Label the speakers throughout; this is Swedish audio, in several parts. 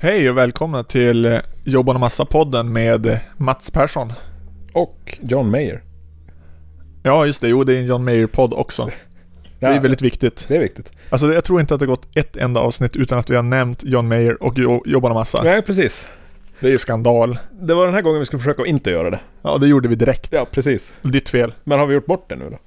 Speaker 1: Hej och välkomna till eh, Jobban och Massa-podden med eh, Mats Persson.
Speaker 2: Och John Mayer.
Speaker 1: Ja, just det. Jo, det är en John Mayer-podd också. Det är
Speaker 2: Ja,
Speaker 1: väldigt viktigt.
Speaker 2: det är viktigt.
Speaker 1: Alltså, jag tror inte att det har gått ett enda avsnitt utan att vi har nämnt John Mayer och jo- Jobban och Massa.
Speaker 2: Nej, precis.
Speaker 1: Det är ju skandal.
Speaker 2: Det var den här gången vi skulle försöka att inte göra det.
Speaker 1: Ja, det gjorde vi direkt.
Speaker 2: Ja, precis.
Speaker 1: Ditt fel.
Speaker 2: Men har vi gjort bort det nu då?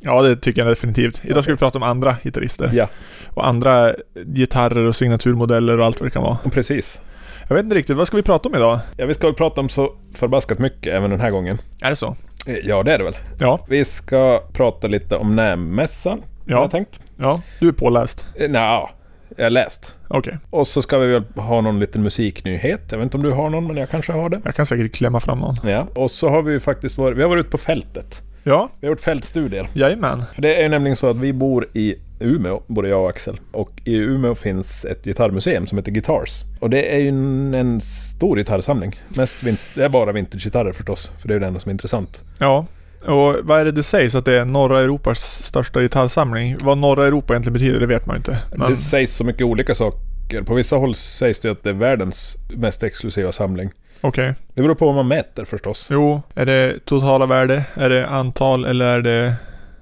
Speaker 1: Ja, det tycker jag definitivt. Idag ska vi prata om andra gitarrister.
Speaker 2: Ja,
Speaker 1: Och andra eh, gitarrer och signaturmodeller och allt vad det kan vara.
Speaker 2: precis.
Speaker 1: Jag vet inte riktigt, vad ska vi prata om idag?
Speaker 2: Ja, vi ska väl prata om så förbaskat mycket även den här gången.
Speaker 1: Är det så?
Speaker 2: Eh, Ja, det är det väl.
Speaker 1: Ja,
Speaker 2: Vi ska prata lite om Nämmässan, har
Speaker 1: ja,
Speaker 2: jag tänkt.
Speaker 1: ja. Du är påläst.
Speaker 2: Eh, Nja, jag har läst.
Speaker 1: Okej,
Speaker 2: Och så ska vi väl ha någon liten musiknyhet. Jag vet inte om du har någon, men jag kanske har det.
Speaker 1: jag kan säkert klämma fram någon.
Speaker 2: Ja, och så har vi ju faktiskt varit, vi har varit ute på fältet.
Speaker 1: Ja,
Speaker 2: Vi har gjort fältstudier.
Speaker 1: jajamän.
Speaker 2: För det är ju nämligen så att vi bor i Umeå, både jag och Axel. Och i Umeå finns ett gitarrmuseum som heter Guitars. Och det är ju en, en stor gitarrsamling. Mest vin- det är bara vintagegitarrer förstås, för det är ju det enda som är intressant.
Speaker 1: Ja, och vad är det det sägs att det är norra Europas största gitarrsamling? Vad norra Europa egentligen betyder, det vet man ju inte. Men,
Speaker 2: Det sägs så mycket olika saker. På vissa håll sägs det att det är världens mest exklusiva samling.
Speaker 1: Okej.
Speaker 2: Det beror på vad man mäter förstås.
Speaker 1: Jo, är det totala värde? Är det antal eller är det...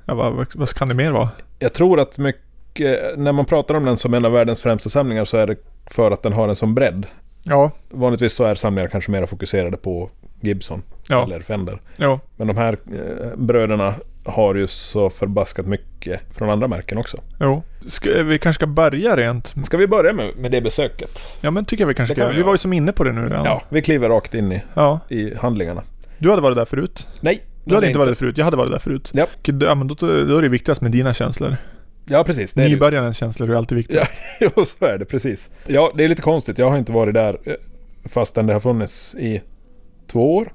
Speaker 1: Ja, vad, vad, vad kan det mer vara?
Speaker 2: Jag tror att mycket, när man pratar om den som en av världens främsta samlingar så är det för att den har en sån bredd.
Speaker 1: Ja,
Speaker 2: Vanligtvis så är samlingar kanske mer fokuserade på Gibson
Speaker 1: ja,
Speaker 2: eller Fender.
Speaker 1: ja.
Speaker 2: Men de här eh, bröderna har ju så förbaskat mycket från andra märken också.
Speaker 1: Jo. Ska, vi kanske ska börja rent?
Speaker 2: Ska vi börja med, med det besöket?
Speaker 1: Ja, men tycker jag vi kanske
Speaker 2: Det
Speaker 1: ska
Speaker 2: kan
Speaker 1: göra.
Speaker 2: vi
Speaker 1: Vi var
Speaker 2: göra.
Speaker 1: ju som inne på det nu redan.
Speaker 2: Ja. vi kliver rakt in i,
Speaker 1: ja.
Speaker 2: i handlingarna.
Speaker 1: Du hade varit där förut.
Speaker 2: Nej,
Speaker 1: Du hade inte varit där förut. Jag hade varit där förut.
Speaker 2: Ja.
Speaker 1: Och då- Ja, men då, då är det viktigast med dina känslor.
Speaker 2: Ja, precis. Det är det.
Speaker 1: Nybörjarens känslor är alltid viktiga.
Speaker 2: Ja. Jo, så är det. Precis. Ja, det är lite konstigt. Jag har inte varit där eh, fastän det har funnits i två år.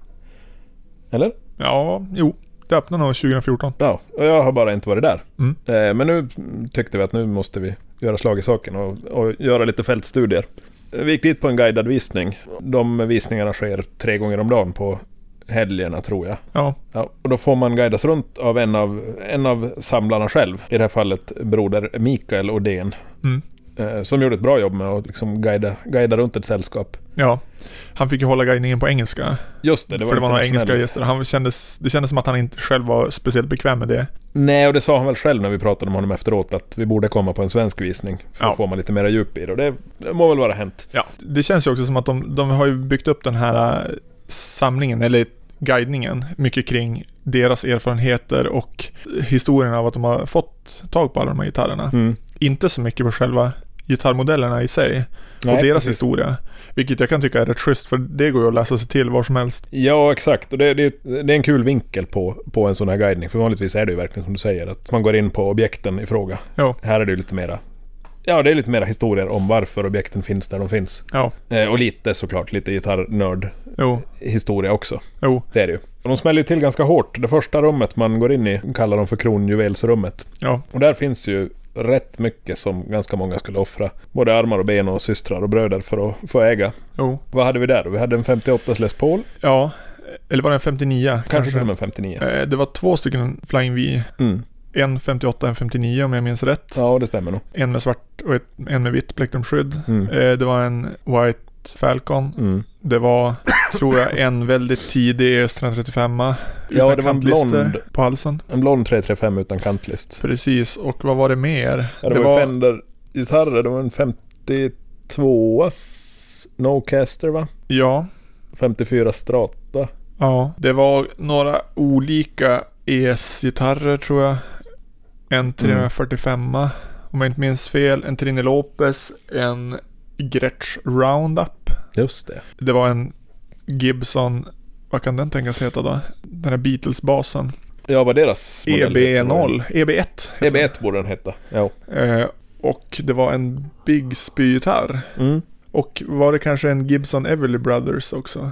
Speaker 2: Eller?
Speaker 1: Ja, jo. Det öppnade nog 2014.
Speaker 2: Ja, och jag har bara inte varit där.
Speaker 1: Mm.
Speaker 2: Eh, Men nu tyckte vi att nu måste vi göra slag i saken och, och göra lite fältstudier. Vi gick dit på en guidad visning. De visningarna sker tre gånger om dagen på helgerna tror jag.
Speaker 1: Ja,
Speaker 2: Ja, och då får man guidas runt av en av, en av samlarna själv. I det här fallet broder Mikael Odén.
Speaker 1: Mm.
Speaker 2: eh, Som gjorde ett bra jobb med att liksom guida, guida runt ett sällskap.
Speaker 1: ja. Han fick ju hålla guidningen på engelska.
Speaker 2: Just det, det var,
Speaker 1: för det var några engelska
Speaker 2: internationell-
Speaker 1: gäster. Han kändes, det kändes som att han inte själv var speciellt bekväm med det.
Speaker 2: Nej, och det sa han väl själv när vi pratade med honom efteråt att vi borde komma på en svensk visning. För
Speaker 1: Ja.
Speaker 2: då får man lite mera djup i det. Och det, det må väl vara hänt.
Speaker 1: Ja. Det känns ju också som att de, de har ju byggt upp den här eh, samlingen, eller guidningen, mycket kring deras erfarenheter och historien av att de har fått tag på alla de här gitarrerna.
Speaker 2: Mm.
Speaker 1: Inte så mycket på själva gitarrmodellerna i sig och
Speaker 2: Nej,
Speaker 1: deras
Speaker 2: precis.
Speaker 1: historia. Vilket jag kan tycka är rätt schysst för det går ju att läsa sig till var som helst.
Speaker 2: Ja, exakt. Och det, det, det är en kul vinkel på, på en sån här guidning. För vanligtvis är det ju verkligen som du säger, att man går in på objekten i fråga.
Speaker 1: Ja.
Speaker 2: Här är det ju lite mera... Ja, det är lite mera historier om varför objekten finns där de finns.
Speaker 1: Ja,
Speaker 2: Eh, och lite såklart, lite gitarrnördhistoria
Speaker 1: jo,
Speaker 2: också.
Speaker 1: jo,
Speaker 2: Det är det ju. Och de smäller ju till ganska hårt. Det första rummet man går in i kallar de för kronjuvelsrummet.
Speaker 1: ja,
Speaker 2: Och där finns ju rätt mycket som ganska många skulle offra. Både armar och ben och systrar och bröder för att få äga.
Speaker 1: jo.
Speaker 2: Vad hade vi där då? Vi hade en 58 Les Paul,
Speaker 1: Ja, eller var det en 59? Kanske,
Speaker 2: kanske till och med en 59.
Speaker 1: Eh, Det var två stycken Flying V.
Speaker 2: Mm.
Speaker 1: En 58 en 59 om jag minns rätt.
Speaker 2: Ja, det stämmer nog.
Speaker 1: En med svart och ett, en med vitt plektrumskydd.
Speaker 2: Mm.
Speaker 1: Eh, Det var en White Falcon.
Speaker 2: Mm.
Speaker 1: Det var, tror jag, en väldigt tidig E Östra 35
Speaker 2: Ja, det var en blond,
Speaker 1: på halsen.
Speaker 2: en blond 335 utan kantlist.
Speaker 1: Precis, och vad var det mer?
Speaker 2: Ja, det, var ju Fender-gitarrer, det var en 52 Snowcaster va?
Speaker 1: Ja,
Speaker 2: 54 Strata.
Speaker 1: ja. Det var några olika ES-gitarrer tror jag.
Speaker 2: Mm.
Speaker 1: En 345 om jag inte minns fel. En Trini Lopez. En Gretsch Roundup.
Speaker 2: Just det.
Speaker 1: Det var en Gibson, vad kan den tänkas heta då? Den här Beatles-basen. E
Speaker 2: Ja, vad deras modell E heter, var
Speaker 1: EB0, EB1.
Speaker 2: det? EB1 borde den heta. Ja.
Speaker 1: Eh, och det var en Bigsby-gitarr.
Speaker 2: Mm.
Speaker 1: Och var det kanske en Gibson Everly Brothers också?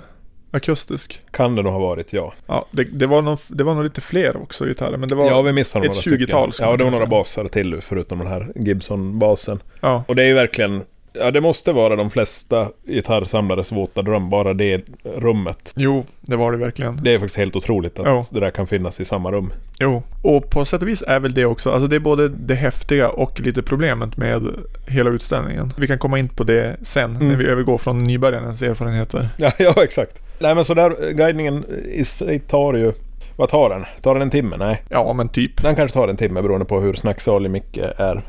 Speaker 1: Akustisk.
Speaker 2: Kan det nog ha varit, ja.
Speaker 1: Ja, det, det, var, nog, det var nog lite fler också gitarrer, men det var...
Speaker 2: Ja, vi missar
Speaker 1: ett
Speaker 2: några stycken.
Speaker 1: 20-tal, ska
Speaker 2: Ja,
Speaker 1: man
Speaker 2: det var
Speaker 1: kunna
Speaker 2: några
Speaker 1: säga.
Speaker 2: basar till förutom den här Gibson-basen.
Speaker 1: ja,
Speaker 2: Och det är ju verkligen Ja, det måste vara de flesta gitarrsamlares våta dröm, bara det rummet.
Speaker 1: Jo, det var det verkligen.
Speaker 2: Det är faktiskt helt otroligt att
Speaker 1: Ja.
Speaker 2: det där kan finnas i samma rum.
Speaker 1: Jo, och på sätt och vis är väl det också, alltså det är både det häftiga och lite problemet med hela utställningen. Vi kan komma in på det sen
Speaker 2: Mm.
Speaker 1: när vi övergår från nybörjarens erfarenheter.
Speaker 2: Ja, ja exakt. Nej, men så där eh, guidningen i sig tar ju... Vad tar den? Tar den en timme? Nej.
Speaker 1: Ja, men typ.
Speaker 2: Den kanske tar en timme beroende på hur snacksalig Micke är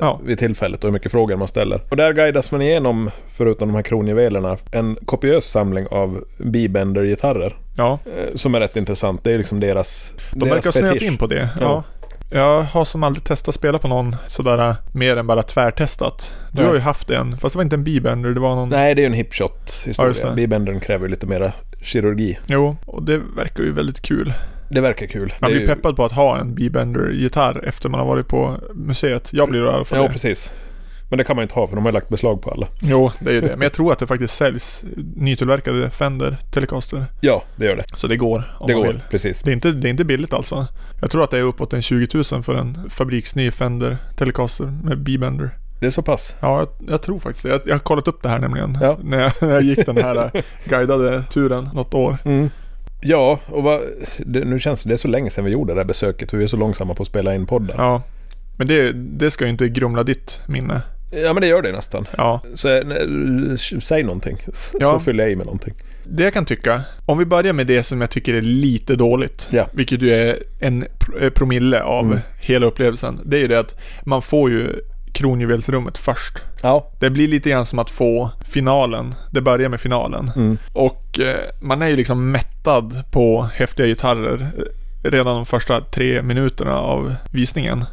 Speaker 1: Ja.
Speaker 2: vid tillfället och hur mycket frågor man ställer. Och där guidas man igenom, förutom de här kronjuvelerna, en kopiös samling av Bibender-gitarrer.
Speaker 1: Ja,
Speaker 2: eh, Som är rätt intressant. Det är liksom deras
Speaker 1: de verkar ha snöat in på det. Ja.
Speaker 2: Ja.
Speaker 1: Jag har som aldrig testat spela på någon sådär äh, mer än bara tvärtestat. Du
Speaker 2: Nej.
Speaker 1: har ju haft en, fast det var inte en bibender, det var någon...
Speaker 2: Nej, det är ju en
Speaker 1: Ja, just
Speaker 2: hipshot-historia.
Speaker 1: det.
Speaker 2: Bibendern kräver ju lite mera kirurgi.
Speaker 1: Jo, och det verkar ju väldigt kul.
Speaker 2: Det verkar kul.
Speaker 1: Man
Speaker 2: det är
Speaker 1: blir
Speaker 2: ju...
Speaker 1: peppad på att ha en bibender-gitarr efter man har varit på museet. Jag blir i alla fall
Speaker 2: Ja,
Speaker 1: det.
Speaker 2: precis. Men det kan man ju inte ha för de har lagt beslag på alla.
Speaker 1: Jo, det är ju det. Men jag tror att det faktiskt säljs nytillverkade Fender Telecaster.
Speaker 2: Ja, det gör det.
Speaker 1: Så det går om
Speaker 2: Det
Speaker 1: man
Speaker 2: går,
Speaker 1: vill.
Speaker 2: precis.
Speaker 1: Det är, inte, det är inte billigt alltså. Jag tror att det är uppåt en 20 000 för en fabriksny Fender Telecaster med B-bender.
Speaker 2: Det är så pass.
Speaker 1: Ja, jag, jag tror faktiskt det. Jag, jag har kollat upp det här nämligen.
Speaker 2: Ja.
Speaker 1: När, jag, när jag gick den här eh, guidade turen något år.
Speaker 2: Ja, och vad, det, nu känns det, det är så länge sedan vi gjorde det här besöket för vi är så långsamma på att spela in podden.
Speaker 1: Ja. Men det, det ska ju inte grumla ditt minne.
Speaker 2: Ja, men det gör det nästan.
Speaker 1: Ja,
Speaker 2: Så, eh, nej, säg någonting, S-
Speaker 1: Ja.
Speaker 2: så fyller jag i med någonting.
Speaker 1: det jag kan tycka. Om vi börjar med det som jag tycker är lite dåligt.
Speaker 2: Ja.
Speaker 1: Vilket ju är en pr- eh, promille av
Speaker 2: Mm.
Speaker 1: hela upplevelsen. Det är ju det att man får ju kronjuvelsrummet först.
Speaker 2: Ja,
Speaker 1: Det blir lite grann som att få finalen. Det börjar med finalen.
Speaker 2: mm.
Speaker 1: Och eh, man är ju liksom mättad på häftiga gitarrer eh, redan de första tre minuterna av visningen.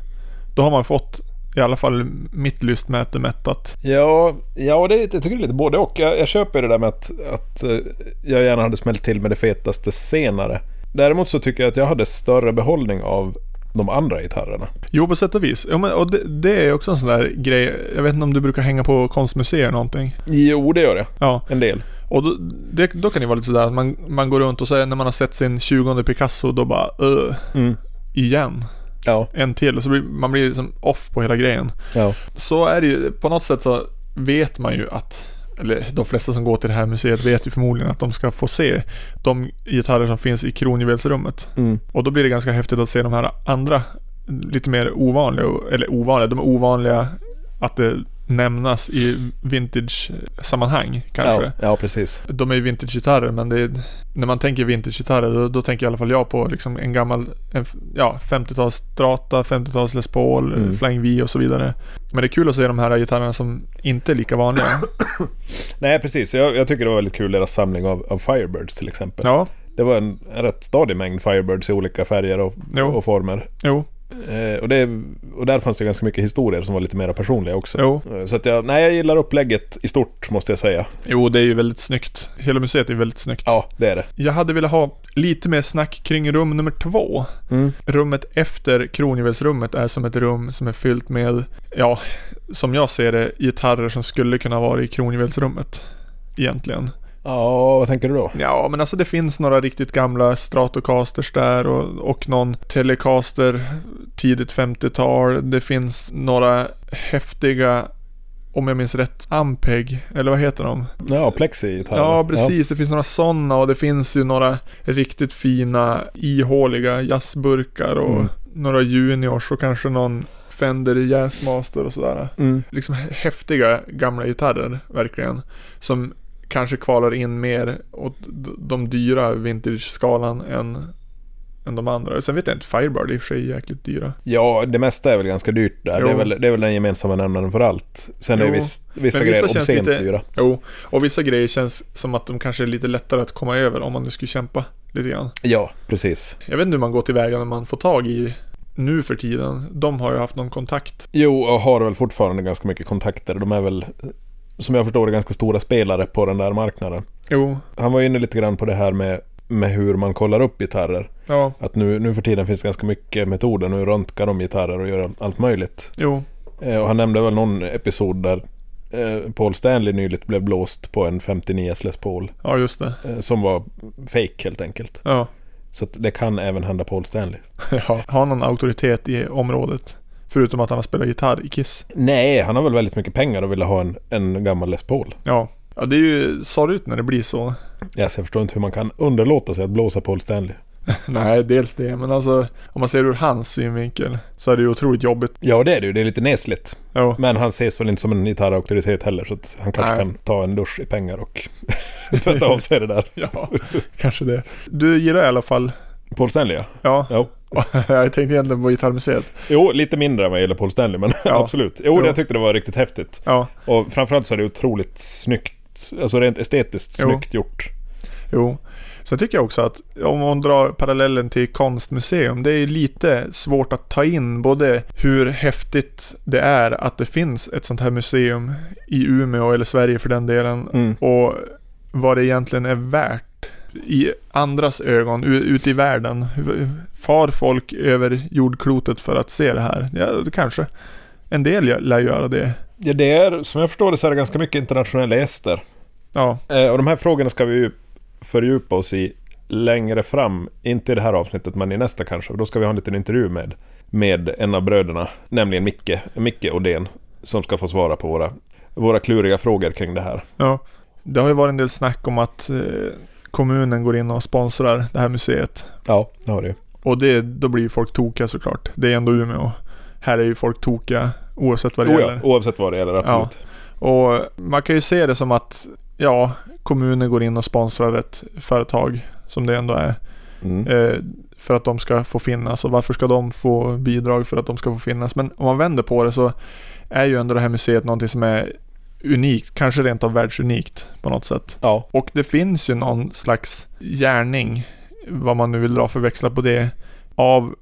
Speaker 1: Då har man fått i alla fall mitt lystmäte mättat.
Speaker 2: ja, ja det, jag tycker det är lite både och. Jag, jag köper det där med att, att eh, jag gärna hade smält till med det fetaste senare. Däremot så tycker jag att jag hade större behållning av de andra gitarrerna.
Speaker 1: Jo, på sätt och vis. Jo, men, och det, det är också en sån där grej. Jag vet inte om du brukar hänga på konstmuseer någonting.
Speaker 2: Jo, det gör jag.
Speaker 1: Ja,
Speaker 2: En del.
Speaker 1: och då, det, då kan det vara lite sådär att man, man går runt och så när man har sett sin 20 Picasso då bara öh,
Speaker 2: Mm.
Speaker 1: igen.
Speaker 2: Ja,
Speaker 1: En till. Så blir, man blir liksom off på hela grejen.
Speaker 2: ja.
Speaker 1: Så är det ju. På något sätt så vet man ju att, eller de flesta som går till det här museet vet ju förmodligen att de ska få se de gitarrer som finns i kronjuvelsrummet.
Speaker 2: Mm.
Speaker 1: Och då blir det ganska häftigt att se de här andra, lite mer ovanliga, eller ovanliga, de är ovanliga att det nämnas i vintage-sammanhang kanske.
Speaker 2: Ja, ja, precis.
Speaker 1: De är ju vintagegitarrer men det är, när man tänker vintagegitarrer då, då tänker i alla fall jag på liksom en gammal en, f- ja, 50-tals Strata, 50-tals Les Paul, eh,
Speaker 2: Mm.
Speaker 1: Flying V och så vidare. Men det är kul att se de här gitarrerna som inte är lika vanliga.
Speaker 2: Nej, precis. Jag, jag tycker det var väldigt kul deras samling av, av Firebirds till exempel.
Speaker 1: ja,
Speaker 2: Det var en, en rätt stadig mängd Firebirds i olika färger och,
Speaker 1: Jo.
Speaker 2: och former.
Speaker 1: jo,
Speaker 2: Eh, och, det, och där fanns det ganska mycket historier som var lite mer personliga också.
Speaker 1: jo.
Speaker 2: Eh, Så att jag, nej, jag gillar upplägget i stort måste jag säga.
Speaker 1: Jo, det är ju väldigt snyggt. Hela museet är väldigt snyggt.
Speaker 2: Ja, det är det.
Speaker 1: Jag hade velat ha lite mer snack kring rum nummer två. Rummet efter kronjuvelsrummet är som ett rum som är fyllt med, ja, som jag ser det, gitarrer som skulle kunna vara i kronjuvelsrummet. Egentligen.
Speaker 2: Ja, vad tänker du då?
Speaker 1: Ja, men alltså det finns några riktigt gamla Stratocasters där och, och någon Telecaster tidigt 50-tal. Det finns några häftiga, om jag minns rätt, Ampeg, eller vad heter de?
Speaker 2: Ja, plexi
Speaker 1: Ja, precis. Det finns några sådana och det finns ju några riktigt fina ihåliga jazzburkar och
Speaker 2: Mm.
Speaker 1: några juniors och kanske någon Fender Jazzmaster och sådär.
Speaker 2: Ja. Mm.
Speaker 1: Liksom häftiga gamla gitarrer, verkligen. Som kanske kvalar in mer åt d- de dyra vintage-skalan än, än de andra. Sen vet jag inte, Firebird är i och för sig jäkligt dyra.
Speaker 2: ja, det mesta är väl ganska dyrt där.
Speaker 1: Jo.
Speaker 2: Det är, väl, det är väl den gemensamma nämnaren för allt. Sen är det
Speaker 1: Jo.
Speaker 2: viss, vissa
Speaker 1: Men vissa
Speaker 2: grejer
Speaker 1: känns
Speaker 2: obscent
Speaker 1: lite-
Speaker 2: dyra.
Speaker 1: Jo, och vissa grejer känns som att de kanske är lite lättare att komma över om man nu skulle kämpa lite grann.
Speaker 2: Ja, precis.
Speaker 1: Jag vet inte hur man går tillväga när man får tag i nu för tiden. De har ju haft någon kontakt.
Speaker 2: Jo, och har väl fortfarande ganska mycket kontakter. De är väl, som jag förstår det, ganska stora spelare på den där marknaden.
Speaker 1: Jo,
Speaker 2: Han var ju inne lite grann på det här med, med hur man kollar upp gitarrer.
Speaker 1: ja,
Speaker 2: Att nu, nu för tiden finns det ganska mycket metoder. Nu röntgar de gitarrer och gör allt möjligt.
Speaker 1: jo,
Speaker 2: Eh, och han nämnde väl någon episod där eh, Paul Stanley nyligt blev blåst på en 59 Les Paul.
Speaker 1: ja just det.
Speaker 2: Eh, som var fake helt enkelt.
Speaker 1: Ja.
Speaker 2: Så att det kan även hända Paul Stanley.
Speaker 1: ja. Har någon auktoritet i området. Förutom att han har spelat gitarr i Kiss.
Speaker 2: Nej, han har väl väldigt mycket pengar och ville ha en, en gammal Les Paul.
Speaker 1: Ja. Ja, det är ju sorgligt när det blir så.
Speaker 2: Yes, jag förstår inte hur man kan underlåta sig att blåsa Paul Stanley.
Speaker 1: Nej, dels det, men alltså om man ser det ur hans synvinkel så är det ju otroligt jobbigt.
Speaker 2: Ja, det är det ju. Det är lite nesligt.
Speaker 1: Ja,
Speaker 2: Men han ses väl inte som en gitarrauktoritet heller så att han kanske
Speaker 1: Nej.
Speaker 2: kan ta en dusch i pengar och tvätta av sig det där.
Speaker 1: ja kanske det. Du gillar i alla fall,
Speaker 2: Paul Stanley ja.
Speaker 1: ja.
Speaker 2: Jo.
Speaker 1: jag tänkte egentligen på Gitarrmuseet.
Speaker 2: Jo, lite mindre än vad jag gillar Paul Stanley men
Speaker 1: Ja.
Speaker 2: absolut. Jo,
Speaker 1: Jo.
Speaker 2: jag tyckte det var riktigt häftigt.
Speaker 1: Ja,
Speaker 2: Och framförallt så är det otroligt snyggt. Alltså rent estetiskt
Speaker 1: Jo.
Speaker 2: snyggt gjort.
Speaker 1: jo. Sen tycker jag också att om man drar parallellen till konstmuseum, det är ju lite svårt att ta in både hur häftigt det är att det finns ett sånt här museum i Umeå eller Sverige för den delen
Speaker 2: Mm.
Speaker 1: och vad det egentligen är värt i andras ögon, u- ute i världen. Far folk över jordklotet för att se det här? Ja, kanske. En del gö- lär göra det.
Speaker 2: Ja, det är, som jag förstår det så är det ganska mycket internationella gäster.
Speaker 1: Ja,
Speaker 2: Eh, Och de här frågorna ska vi ju fördjupa oss i längre fram. Inte i det här avsnittet, men i nästa kanske. Och Då ska vi ha en liten intervju med, med en av bröderna, nämligen Micke, Micke Odén, som ska få svara på våra, våra kluriga frågor kring det här.
Speaker 1: ja. Det har ju varit en del snack om att eh, kommunen går in och sponsrar det här museet.
Speaker 2: Ja, det har du.
Speaker 1: Och det, då blir ju folk tokiga såklart. Det är ändå Umeå. Här är ju folk tokiga oavsett vad det
Speaker 2: Oh, ja,
Speaker 1: gäller.
Speaker 2: oavsett vad det gäller, absolut.
Speaker 1: Och man kan ju se det som att ja, kommunen går in och sponsrar ett företag som det ändå är.
Speaker 2: Mm.
Speaker 1: eh, för att de ska få finnas och varför ska de få bidrag för att de ska få finnas. Men om man vänder på det så är ju ändå det här museet någonting som är unikt, kanske rent av världsunikt på något sätt.
Speaker 2: Ja,
Speaker 1: Och det finns ju någon slags gärning, vad man nu vill dra för växlar på det, av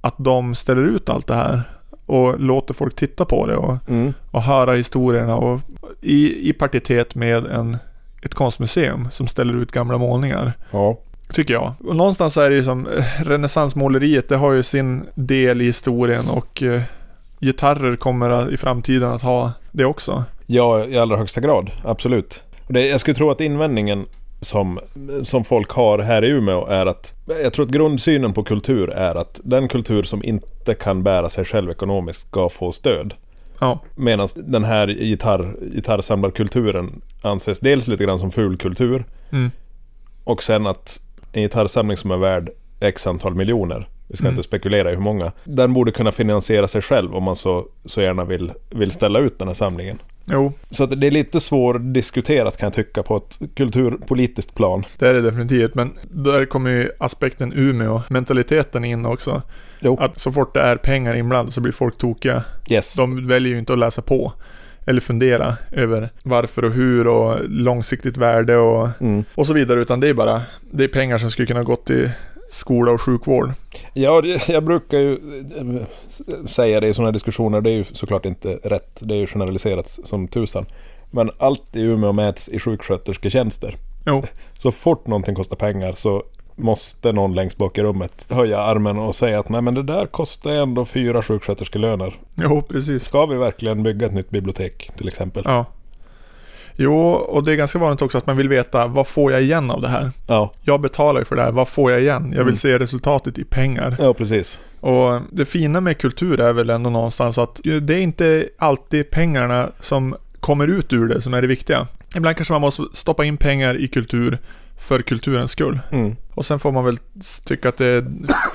Speaker 1: att de ställer ut allt det här och låter folk titta på det och,
Speaker 2: mm.
Speaker 1: och höra historierna och i, i partitet med en, ett konstmuseum som ställer ut gamla målningar.
Speaker 2: ja.
Speaker 1: Tycker jag. Och någonstans är det ju som eh, renässansmåleriet, det har ju sin del i historien och eh, gitarrer kommer att- i framtiden att ha det också.
Speaker 2: ja i allra högsta grad, absolut. Och det, jag skulle tro att invändningen som, som folk har här i Umeå är att jag tror att grundsynen på kultur är att den kultur som inte kan bära sig själv ekonomiskt ska få stöd.
Speaker 1: Ja,
Speaker 2: Medan den här gitarr, gitarrsamlarkulturen anses dels lite grann som fulkultur
Speaker 1: mm.
Speaker 2: och sen att en gitarrsamling som är värd x antal miljoner, vi ska
Speaker 1: Mm.
Speaker 2: inte spekulera i hur många, den borde kunna finansiera sig själv om man så, så gärna vill, vill ställa ut den här samlingen.
Speaker 1: jo,
Speaker 2: Så att det är lite svårdiskuterat kan jag tycka på ett kulturpolitiskt plan.
Speaker 1: det är det definitivt. Men där kommer ju aspekten Umeå, mentaliteten in också.
Speaker 2: Jo.
Speaker 1: Att så fort det är pengar inblandade så blir folk tokiga.
Speaker 2: Yes.
Speaker 1: De väljer ju inte att läsa på eller fundera över varför och hur och långsiktigt värde och,
Speaker 2: Mm.
Speaker 1: och så vidare. Utan det är bara, det är pengar som skulle kunna gått till skola och sjukvård.
Speaker 2: Ja, det- jag brukar ju eh, s- säga det i sådana här diskussioner, det är ju såklart inte rätt, det är ju generaliserat som tusan. Men allt i Umeå mäts i sjukskötersketjänster.
Speaker 1: Jo.
Speaker 2: Så fort någonting kostar pengar så måste någon längst bak i rummet höja armen och säga att nej men det där kostar ändå fyra sjuksköterskelöner.
Speaker 1: Jo, precis.
Speaker 2: Ska vi verkligen bygga ett nytt bibliotek till exempel?
Speaker 1: Ja. Jo, och det är ganska vanligt också att man vill veta vad får jag igen av det här?
Speaker 2: Ja,
Speaker 1: Jag betalar ju för det här, vad får jag igen? Jag vill
Speaker 2: Mm.
Speaker 1: se resultatet i pengar.
Speaker 2: ja precis.
Speaker 1: Och det fina med kultur är väl ändå någonstans att det är inte alltid pengarna som kommer ut ur det som är det viktiga. Ibland kanske man måste stoppa in pengar i kultur för kulturens skull.
Speaker 2: Mm.
Speaker 1: Och sen får man väl tycka att det är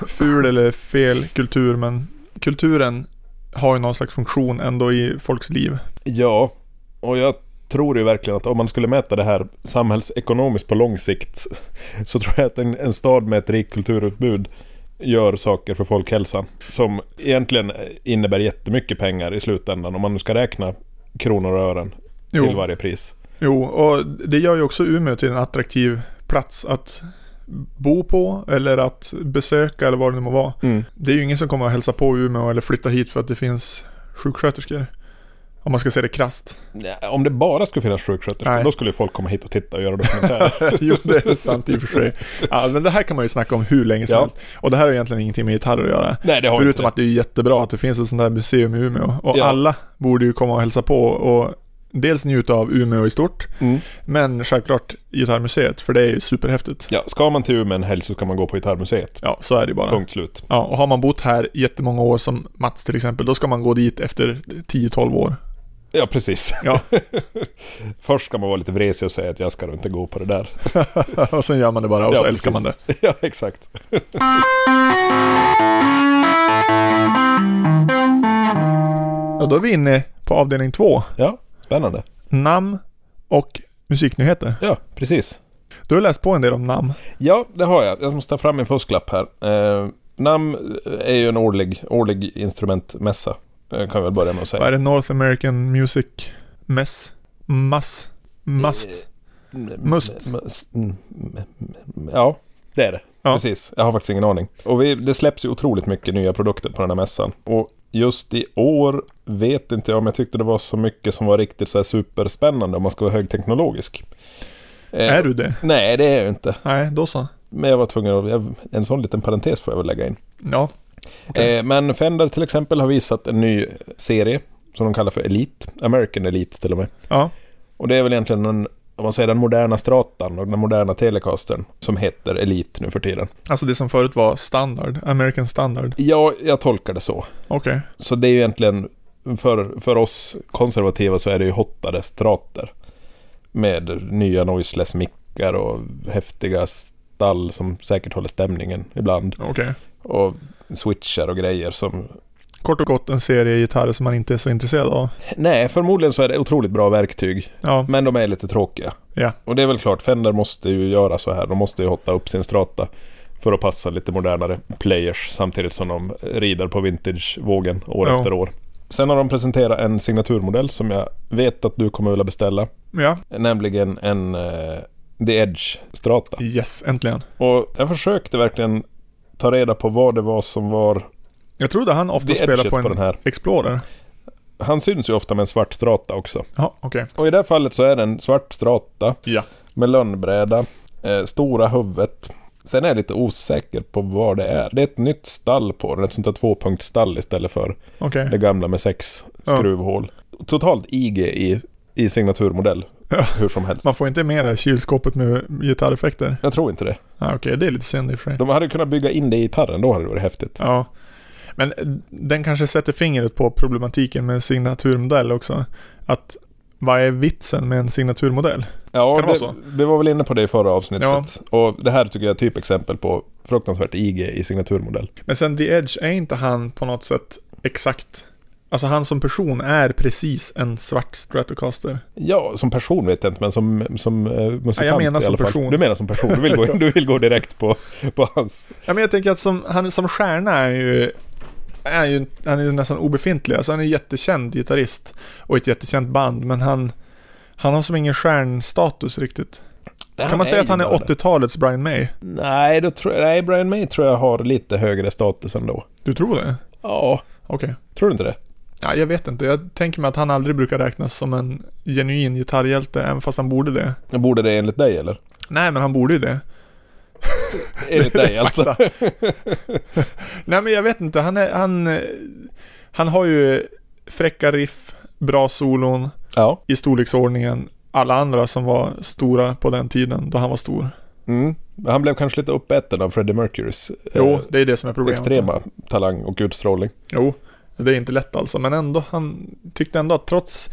Speaker 1: ful eller fel kultur men kulturen har ju någon slags funktion ändå i folks liv.
Speaker 2: Ja, och jag tror ju verkligen att om man skulle mäta det här samhällsekonomiskt på lång sikt så tror jag att en, en stad med ett rikt kulturutbud gör saker för folkhälsan som egentligen innebär jättemycket pengar i slutändan om man nu ska räkna kronor och ören
Speaker 1: Jo.
Speaker 2: till varje pris.
Speaker 1: Jo, och det gör ju också Umeå till en attraktiv plats att bo på eller att besöka eller vad det nu må vara. Det är ju ingen som kommer att hälsa på Umeå eller flytta hit för att det finns sjuksköterskor. Om man ska säga det krasst.
Speaker 2: Nej, Om det bara skulle finnas sjuksköterskor
Speaker 1: Nej.
Speaker 2: då skulle ju folk komma hit och titta och göra dokumentärer.
Speaker 1: jo, det är sant i och för sig. Ja, men det här kan man ju snacka om hur länge som
Speaker 2: Ja.
Speaker 1: helst. Och det här har egentligen ingenting med gitarrer att göra.
Speaker 2: Nej, det har inte
Speaker 1: Förutom
Speaker 2: det.
Speaker 1: att det är jättebra att det finns ett sånt här museum i Umeå. Och
Speaker 2: Ja.
Speaker 1: alla borde ju komma och hälsa på och dels njuta av Umeå i stort,
Speaker 2: Mm.
Speaker 1: men självklart Gitarrmuseet, för det är ju superhäftigt.
Speaker 2: Ja, ska man till Umeå en helg så ska man gå på Gitarrmuseet.
Speaker 1: Ja, så är det bara.
Speaker 2: Punkt slut.
Speaker 1: Ja, och har man bott här jättemånga år som Mats till exempel, då ska man gå dit efter 10-12 år.
Speaker 2: Ja, precis.
Speaker 1: Ja.
Speaker 2: Först ska man vara lite vresig och säga att jag ska nog inte gå på det där.
Speaker 1: och sen gör man det bara och
Speaker 2: Ja,
Speaker 1: så älskar
Speaker 2: precis.
Speaker 1: man det.
Speaker 2: ja, exakt.
Speaker 1: Ja, då är vi inne på avdelning två.
Speaker 2: Ja, spännande.
Speaker 1: Namn och musiknyheter.
Speaker 2: Ja, precis.
Speaker 1: Du har läst på en del om namn.
Speaker 2: Ja, det har jag. Jag måste ta fram min fusklapp här. Eh, NAM är ju en årlig, årlig instrumentmässa. Eh, kan vi väl börja med att
Speaker 1: Vad
Speaker 2: säga.
Speaker 1: är det? North American Music Mess? Mass? Must? Must.
Speaker 2: Must. Mm, mm, mm. Ja, det är det.
Speaker 1: Ja.
Speaker 2: Precis. Jag har faktiskt ingen aning. Och vi, det släpps ju otroligt mycket nya produkter på den här mässan. Och just i år vet inte jag om jag tyckte det var så mycket som var riktigt så här superspännande om man ska vara högteknologisk. Eh,
Speaker 1: Är du det?
Speaker 2: Nej, det är jag ju inte.
Speaker 1: Nej, då så.
Speaker 2: Men jag var tvungen att... Jag, en sån liten parentes får jag väl lägga in.
Speaker 1: Ja. Okej.
Speaker 2: Eh, men Fender till exempel har visat en ny serie som de kallar för Elite. American Elite till och med.
Speaker 1: Ja.
Speaker 2: Och det är väl egentligen den, om man säger den moderna Stratan och den moderna Telecastern som heter Elite nu för tiden.
Speaker 1: Alltså det som förut var standard. American standard.
Speaker 2: Ja, jag tolkar det så.
Speaker 1: Okej.
Speaker 2: Så det är ju egentligen, för, för oss konservativa så är det ju hottade Strater. Med nya noiseless mickar och häftiga stall som säkert håller stämningen ibland.
Speaker 1: Okej.
Speaker 2: Och switchar och grejer som...
Speaker 1: Kort och gott en serie gitarrer som man inte är så intresserad av.
Speaker 2: Nej, förmodligen så är det otroligt bra verktyg.
Speaker 1: Ja.
Speaker 2: Men de är lite tråkiga.
Speaker 1: Ja.
Speaker 2: Och det är väl klart, Fender måste ju göra så här. De måste ju hotta upp sin strata för att passa lite modernare players samtidigt som de rider på vintage-vågen år
Speaker 1: Ja.
Speaker 2: efter år. Sen har de presenterat en signaturmodell som jag vet att du kommer vilja beställa.
Speaker 1: Ja.
Speaker 2: Nämligen en eh, The Edge Strata.
Speaker 1: Yes, äntligen.
Speaker 2: Och jag försökte verkligen ta reda på vad det var som var...
Speaker 1: Jag trodde han ofta
Speaker 2: The
Speaker 1: spelade
Speaker 2: Edge
Speaker 1: på
Speaker 2: på,
Speaker 1: en
Speaker 2: den här.
Speaker 1: Explorer.
Speaker 2: Han syns ju ofta med en svart strata också.
Speaker 1: Ja, okej.
Speaker 2: Och i det här fallet så är det en svart strata
Speaker 1: Ja.
Speaker 2: med lönnbräda, eh, stora huvudet. Sen är jag lite osäker på vad det är. Det är ett nytt stall på den, ett sånt där tvåpunktsstall istället för
Speaker 1: Okej.
Speaker 2: det gamla med sex
Speaker 1: Ja.
Speaker 2: skruvhål. Totalt IG i, i signaturmodell,
Speaker 1: Ja.
Speaker 2: hur som helst.
Speaker 1: Man får inte med det kylskåpet med gitarreffekter.
Speaker 2: Jag tror inte det.
Speaker 1: Ja, okej, det är lite synd i och för sig.
Speaker 2: De hade kunnat bygga in det i gitarren, då hade det varit häftigt.
Speaker 1: Ja. Men den kanske sätter fingret på problematiken med en signaturmodell också. Att vad är vitsen med en signaturmodell?
Speaker 2: Ja,
Speaker 1: Kan det
Speaker 2: det,
Speaker 1: vara
Speaker 2: vi var väl inne på det i förra avsnittet. Och det här tycker jag är typexempel på fruktansvärt IG i signaturmodell.
Speaker 1: Men sen The Edge, är inte han på något sätt exakt... Alltså han som person är precis en svart Stratocaster.
Speaker 2: Ja, som person vet jag inte, men som, som eh, musikant
Speaker 1: Ja, jag menar
Speaker 2: i
Speaker 1: som
Speaker 2: alla fall.
Speaker 1: person.
Speaker 2: Du menar som person, du vill gå, du vill gå direkt på, på hans
Speaker 1: Ja men jag tänker att som, han, som stjärna är ju... Är ju, han är ju nästan obefintlig. Alltså han är en jättekänd gitarrist. Och ett jättekänt band. Men han... Han har som ingen stjärnstatus riktigt. Kan man säga att han är 80-talets Brian May?
Speaker 2: Nej, då tror jag, nej, Brian May tror jag har lite högre status ändå.
Speaker 1: Du tror det?
Speaker 2: Ja.
Speaker 1: Okej.
Speaker 2: Tror du inte det?
Speaker 1: Ja, jag vet inte. Jag tänker mig att han aldrig brukar räknas som en genuin gitarrhjälte, även fast han borde det.
Speaker 2: Borde det enligt dig eller?
Speaker 1: Nej, men han borde ju det.
Speaker 2: Enligt dig alltså.
Speaker 1: Fakta. Nej, men jag vet inte. Han, är, han, eh, han har ju fräcka riff, bra solon
Speaker 2: Ja.
Speaker 1: i storleksordningen alla andra som var stora på den tiden då han var stor.
Speaker 2: Mm. Han blev kanske lite uppäten av Freddie Mercurys eh,
Speaker 1: Jo, det är det som är problemet.
Speaker 2: extrema talang och utstrålning.
Speaker 1: Jo, det är inte lätt alltså. Men ändå, han tyckte ändå att trots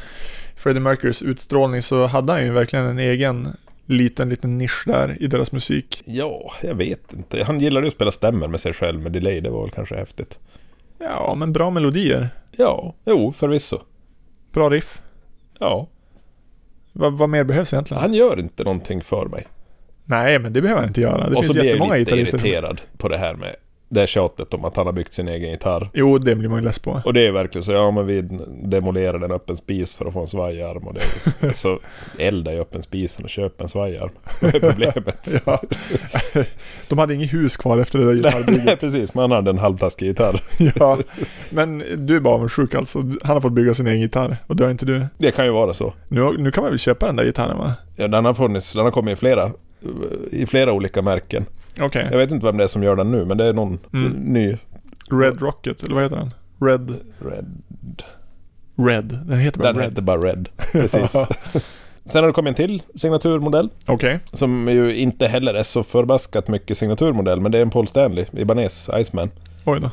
Speaker 1: Freddie Mercurys utstrålning så hade han ju verkligen en egen liten, liten nisch där i deras musik.
Speaker 2: Ja, jag vet inte. Han gillade ju att spela stämmer med sig själv med delay. Det var väl kanske häftigt.
Speaker 1: Ja, men bra melodier.
Speaker 2: Ja, jo, förvisso.
Speaker 1: Bra riff.
Speaker 2: Ja,
Speaker 1: Vad, vad mer behövs egentligen?
Speaker 2: han gör inte någonting för mig.
Speaker 1: Nej, men det behöver han inte göra. Det
Speaker 2: och
Speaker 1: finns
Speaker 2: så blir
Speaker 1: jättemånga
Speaker 2: jag ju lite
Speaker 1: gitarrister. Som...
Speaker 2: irriterad på det här med det här tjatet om att han har byggt sin egen gitarr.
Speaker 1: Jo, det blir man ju less på.
Speaker 2: Och det är verkligen så, ja men vi demolerade en öppen spis för att få en svajarm och det. Så elda i öppen spisen och köp en svajarm. Det är problemet.
Speaker 1: Ja. De hade inget hus kvar efter det där gitarrbygget.
Speaker 2: Nej precis, man hade en halvtaskig gitarr.
Speaker 1: Ja. Men du är bara avundsjuk alltså. Han har fått bygga sin egen gitarr och det har inte du.
Speaker 2: Det kan ju vara så.
Speaker 1: Nu, nu kan man väl köpa den där gitarren va?
Speaker 2: Ja, den har funnits, den har kommit i flera, i flera olika märken.
Speaker 1: Okej.
Speaker 2: Jag vet inte vem det är som gör den nu men det är någon
Speaker 1: Mm.
Speaker 2: ny
Speaker 1: Red Rocket, eller vad heter den? Red...
Speaker 2: Red...
Speaker 1: Red. Den heter bara
Speaker 2: Den
Speaker 1: Red.
Speaker 2: hette bara Red. Precis. Sen har det kommit en till signaturmodell.
Speaker 1: Okej.
Speaker 2: Som ju inte heller är så förbaskat mycket signaturmodell. Men det är en Paul Stanley, Ibanez, Iceman.
Speaker 1: Oj då.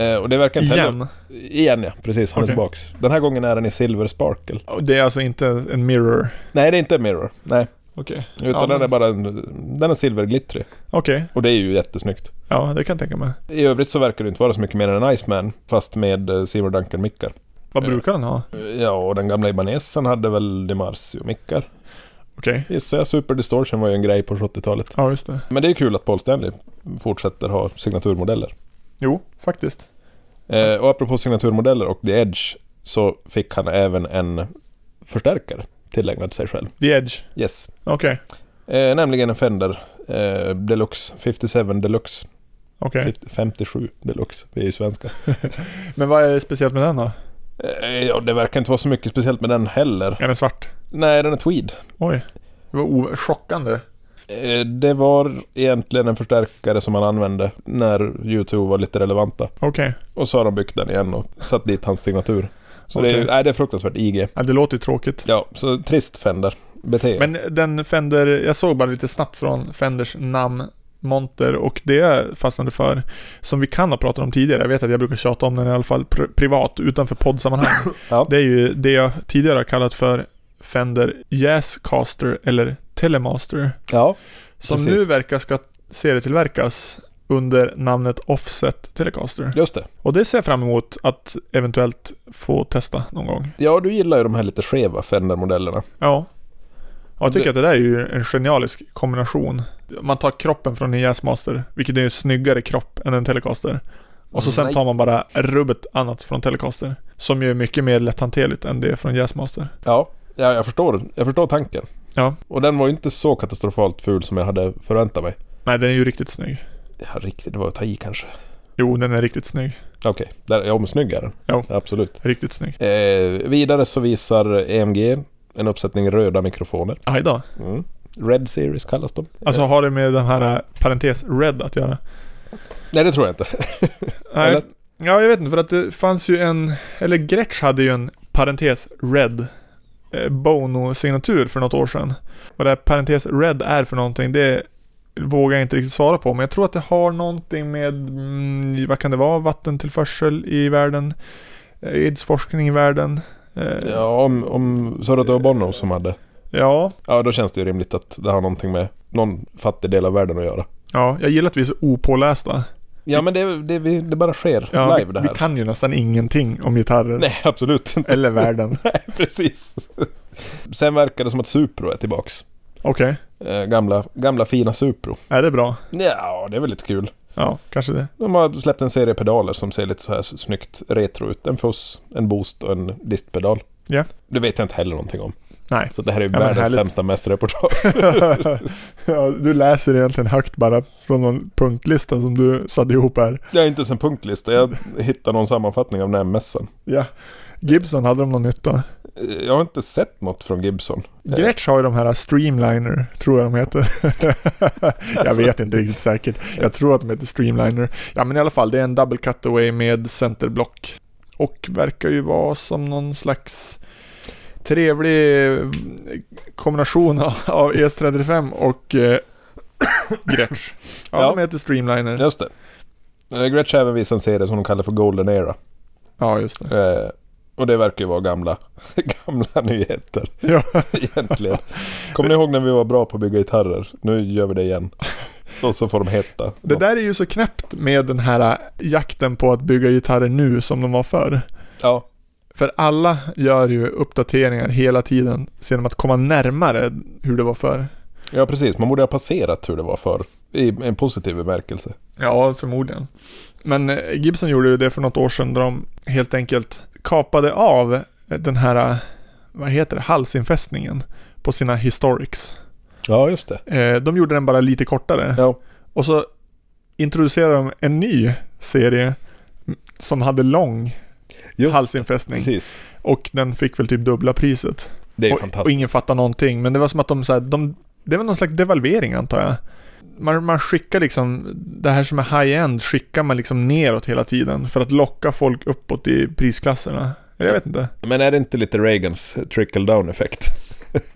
Speaker 2: Eh, och det verkar inte heller...
Speaker 1: Igen.
Speaker 2: Igen ja, precis. Han är
Speaker 1: Okej.
Speaker 2: tillbaks. Den här gången är den i Silver Sparkle.
Speaker 1: Och Det är alltså inte en mirror.
Speaker 2: Nej, det är inte en Mirror. Nej,
Speaker 1: Okej.
Speaker 2: utan
Speaker 1: Ja,
Speaker 2: den
Speaker 1: men-
Speaker 2: är bara en, den är silverglittrig.
Speaker 1: Okej.
Speaker 2: Och det är ju jättesnyggt.
Speaker 1: Ja, det kan jag tänka mig.
Speaker 2: I övrigt så verkar det inte vara så mycket mer än en Iceman, fast med eh, Seymour Duncan-mickar.
Speaker 1: Vad
Speaker 2: Ja.
Speaker 1: brukar den ha?
Speaker 2: Eh, Ja, och den gamla Ibanesen hade väl DiMarzio-mickar.
Speaker 1: Okej.
Speaker 2: Gissar jag. Super Distortion var ju en grej på 70-talet.
Speaker 1: Ja, just det.
Speaker 2: Men det är kul att Paul Stanley fortsätter ha signaturmodeller.
Speaker 1: Jo, faktiskt.
Speaker 2: Eh, och apropå signaturmodeller och The Edge så fick han även en förstärkare tillägnad sig själv.
Speaker 1: The Edge.
Speaker 2: Yes.
Speaker 1: Okej.
Speaker 2: Eh, nämligen en Fender eh, Deluxe 57 Deluxe.
Speaker 1: Okej.
Speaker 2: 50, 57 Deluxe, det är ju svenska.
Speaker 1: Men vad är det speciellt med den då?
Speaker 2: Eh, ja, det verkar inte vara så mycket speciellt med den heller.
Speaker 1: Är den svart?
Speaker 2: Nej, den är tweed.
Speaker 1: Oj. Det var o- chockande.
Speaker 2: Eh, det var egentligen en förstärkare som han använde när YouTube var lite relevanta.
Speaker 1: Okej.
Speaker 2: Och så har de byggt den igen och satt dit hans signatur. Så det, är,
Speaker 1: Okej.
Speaker 2: nej, det är fruktansvärt IG.
Speaker 1: Ja, det låter ju tråkigt.
Speaker 2: Ja, så trist Fender. Bete er.
Speaker 1: Men den Fender, jag såg bara lite snabbt från Fenders namn monter och det jag fastnade för, som vi kan ha pratat om tidigare, jag vet att jag brukar tjata om den i alla fall pr- privat utanför poddsammanhang.
Speaker 2: Ja.
Speaker 1: Det är ju det jag tidigare har kallat för Fender Jazzcaster eller Telemaster.
Speaker 2: Ja,
Speaker 1: Som
Speaker 2: Precis.
Speaker 1: nu verkar ska serietillverkas under namnet Offset Telecaster.
Speaker 2: just det.
Speaker 1: Och det ser jag fram emot att eventuellt få testa någon gång.
Speaker 2: Ja, du gillar ju de här lite skeva Fender-modellerna.
Speaker 1: Ja. Ja, Jag tycker
Speaker 2: Det-
Speaker 1: att det där är ju en genialisk kombination. Man tar kroppen från en Jazzmaster, vilket är en snyggare kropp än en Telecaster. Och så sen
Speaker 2: Mm, Nej.
Speaker 1: tar man bara rubbet annat från Telecaster. Som ju är mycket mer lätthanterligt än det från Jazzmaster.
Speaker 2: Ja, ja jag, förstår, jag förstår tanken.
Speaker 1: Ja.
Speaker 2: Och den var ju inte så katastrofalt ful som jag hade förväntat mig.
Speaker 1: Nej, den är ju riktigt snygg.
Speaker 2: Ja, riktigt, det var att ta i kanske.
Speaker 1: Jo, den är riktigt snygg.
Speaker 2: Okej, okay. ja, men snygg är den.
Speaker 1: Ja.
Speaker 2: Absolut.
Speaker 1: Riktigt snygg.
Speaker 2: Eh, vidare så visar EMG en uppsättning röda mikrofoner.
Speaker 1: Aj då.
Speaker 2: Mm. Red Series kallas de.
Speaker 1: Alltså har det med den här eh, parentes red att göra?
Speaker 2: Nej, det tror jag inte.
Speaker 1: Nej.
Speaker 2: Eller?
Speaker 1: Ja, jag vet inte för att det fanns ju en, eller Gretsch hade ju en parentes red eh, Bono-signatur för något år sedan. Vad det här parentes red är för någonting, det vågar jag inte riktigt svara på. Men jag tror att det har någonting med, mm, vad kan det vara, vattentillförsel i världen, eh, aidsforskning i världen. Eh,
Speaker 2: Ja, om, om sa du att det var Bono som hade.
Speaker 1: ja,
Speaker 2: Ja, då känns det ju rimligt att det har någonting med någon fattig del av världen att göra.
Speaker 1: ja, jag gillar att vi är så opålästa.
Speaker 2: Ja, men det, det, vi- det bara sker
Speaker 1: Ja,
Speaker 2: live det
Speaker 1: vi,
Speaker 2: här.
Speaker 1: vi kan ju nästan ingenting om gitarren
Speaker 2: Nej, absolut inte.
Speaker 1: eller världen.
Speaker 2: Precis. Sen verkar det som att Supro är tillbaks.
Speaker 1: Okej,
Speaker 2: Eh, gamla, gamla fina Supro.
Speaker 1: är det bra?
Speaker 2: Ja, det är väl lite kul.
Speaker 1: Ja, kanske det.
Speaker 2: De har släppt en serie pedaler som ser lite så här snyggt retro ut. En fuss, en boost och en distpedal.
Speaker 1: Ja.
Speaker 2: Det vet jag inte heller någonting om.
Speaker 1: Nej.
Speaker 2: Så det här är ju
Speaker 1: men
Speaker 2: världens
Speaker 1: härligt.
Speaker 2: sämsta mästerreportage.
Speaker 1: ja, du läser egentligen högt bara från någon punktlista som du satte ihop här.
Speaker 2: Jag är inte ens en punktlista. Jag hittar någon sammanfattning av den här mässan.
Speaker 1: Ja. Gibson, hade de någon nytta?
Speaker 2: Eh, Jag har inte sett något från Gibson. Eh,
Speaker 1: Gretsch har ju de här Streamliner, tror jag de heter. jag vet inte riktigt säkert. Jag tror att de heter Streamliner. Ja, men i alla fall, det är en double cutaway med centerblock. Och verkar ju vara som någon slags trevlig eh, kombination av- av ES35 och eh, Gretsch. Ja,
Speaker 2: Ja.
Speaker 1: de heter Streamliner.
Speaker 2: Just det. Eh, Gretsch har även visat en serie som de kallar för Golden Era.
Speaker 1: Ja, just det.
Speaker 2: Eh, och det verkar ju vara gamla, gamla nyheter
Speaker 1: Ja.
Speaker 2: egentligen. Kommer ni ihåg när vi var bra på att bygga gitarrer? Nu gör vi det igen. Och så får de heta.
Speaker 1: Det där är ju så knäppt med den här äh, jakten på att bygga gitarrer nu som de var förr.
Speaker 2: Ja,
Speaker 1: För alla gör ju uppdateringar hela tiden genom att komma närmare hur det var förr.
Speaker 2: ja, precis. Man borde ha passerat hur det var förr. I en positiv bemärkelse.
Speaker 1: Ja, förmodligen. Men eh, Gibson gjorde ju det för något år sedan där de helt enkelt kapade av eh, den här, eh, vad heter det, halsinfästningen på sina Historics.
Speaker 2: Ja, just det.
Speaker 1: Eh, De gjorde den bara lite kortare.
Speaker 2: Ja,
Speaker 1: Och så introducerade de en ny serie mm, som hade lång
Speaker 2: just
Speaker 1: halsinfästning.
Speaker 2: Precis.
Speaker 1: Och den fick väl typ dubbla priset.
Speaker 2: Det är ju
Speaker 1: och, och
Speaker 2: fantastiskt.
Speaker 1: ingen fattar någonting. Men det var som att de så här, de, det var någon slags devalvering antar jag. Man, man skickar liksom, det här som är high-end skickar man liksom neråt hela tiden för att locka folk uppåt i prisklasserna. Jag vet inte.
Speaker 2: Men är det inte lite Reagans trickle down effekt?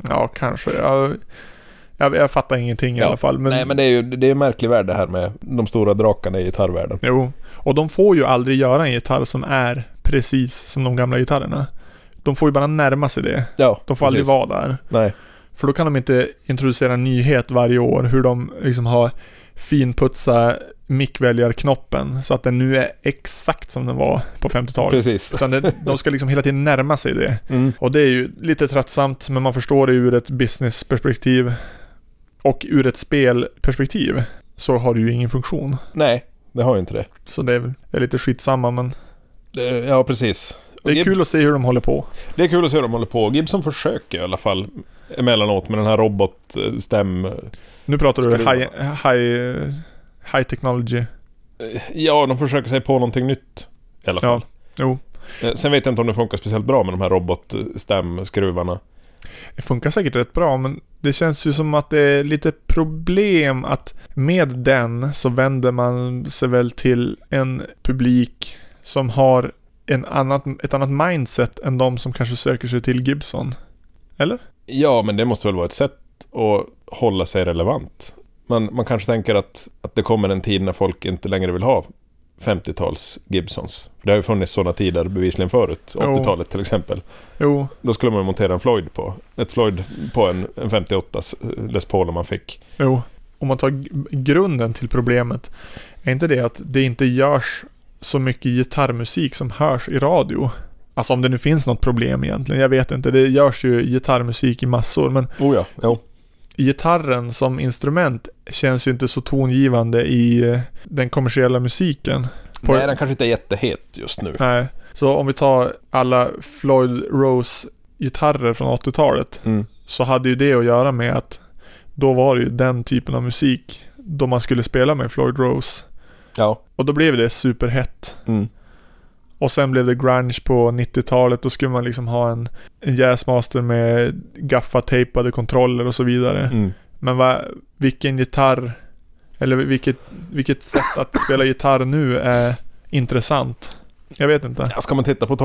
Speaker 1: Ja, kanske. Jag, jag, jag fattar ingenting i
Speaker 2: Ja.
Speaker 1: alla fall. Men,
Speaker 2: Nej men det är ju det är en märklig värld det här med de stora drakarna i gitarrvärlden.
Speaker 1: Jo. Och de får ju aldrig göra en gitarr som är precis som de gamla gitarrerna. De får ju bara närma sig det.
Speaker 2: Ja,
Speaker 1: De får aldrig
Speaker 2: precis.
Speaker 1: vara där.
Speaker 2: Nej,
Speaker 1: För då kan de inte introducera en nyhet varje år hur de liksom har finputsat mickväljarknoppen så att den nu är exakt som den var på 50-talet.
Speaker 2: precis.
Speaker 1: Utan det, de ska liksom hela tiden närma sig det.
Speaker 2: Mm.
Speaker 1: Och det är ju lite tröttsamt men man förstår det ur ett businessperspektiv. Och ur ett spelperspektiv så har det ju ingen funktion.
Speaker 2: Nej, det har ju inte det.
Speaker 1: Så det är, väl- det är lite skitsamma men
Speaker 2: det ja, precis.
Speaker 1: det är
Speaker 2: Gib-
Speaker 1: kul att se hur de håller på.
Speaker 2: det är kul att se hur de håller på. Gibson försöker i alla fall emellanåt med den här robotstäm...
Speaker 1: Nu pratar du
Speaker 2: Skulle
Speaker 1: high, high, high technology.
Speaker 2: Ja, de försöker sig på någonting nytt i alla
Speaker 1: Ja,
Speaker 2: fall.
Speaker 1: jo.
Speaker 2: Eh, Sen vet jag inte om det funkar speciellt bra med de här robotstämskruvarna.
Speaker 1: Det funkar säkert rätt bra men det känns ju som att det är lite problem att med den så vänder man sig väl till en publik som har en annat, ett annat mindset än de som kanske söker sig till Gibson.
Speaker 2: Ja, men det måste väl vara ett sätt att hålla sig relevant. Man, man kanske tänker att, att det kommer en tid när folk inte längre vill ha 50-tals Gibsons. Det har ju funnits sådana tider bevisligen förut.
Speaker 1: Jo.
Speaker 2: 80-talet till exempel.
Speaker 1: Jo,
Speaker 2: Då skulle man montera en Floyd på. Ett Floyd på en, en 58 Les Paul om man fick.
Speaker 1: jo. Om man tar g- grunden till problemet, är inte det att det inte görs så mycket gitarrmusik som hörs i radio? Alltså om det nu finns något problem egentligen, jag vet inte. Det görs ju gitarrmusik i massor men
Speaker 2: Oh ja, jo.
Speaker 1: gitarren som instrument känns ju inte så tongivande i eh, den kommersiella musiken. På-
Speaker 2: Nej, den kanske inte är jättehet just nu.
Speaker 1: Nej. Så om vi tar alla Floyd Rose gitarrer från 80-talet
Speaker 2: Mm.
Speaker 1: så hade ju det att göra med att då var det ju den typen av musik då man skulle spela med Floyd Rose.
Speaker 2: Ja.
Speaker 1: Och då blev det superhett.
Speaker 2: Mm.
Speaker 1: Och sen blev det grunge på 90-talet. Då skulle man liksom ha en, en jazzmaster med gaffatejpade kontroller och så vidare.
Speaker 2: Mm.
Speaker 1: Men va, vilken gitarr eller vilket, vilket sätt att spela gitarr nu är intressant? Jag vet inte.
Speaker 2: Ja, ska man titta på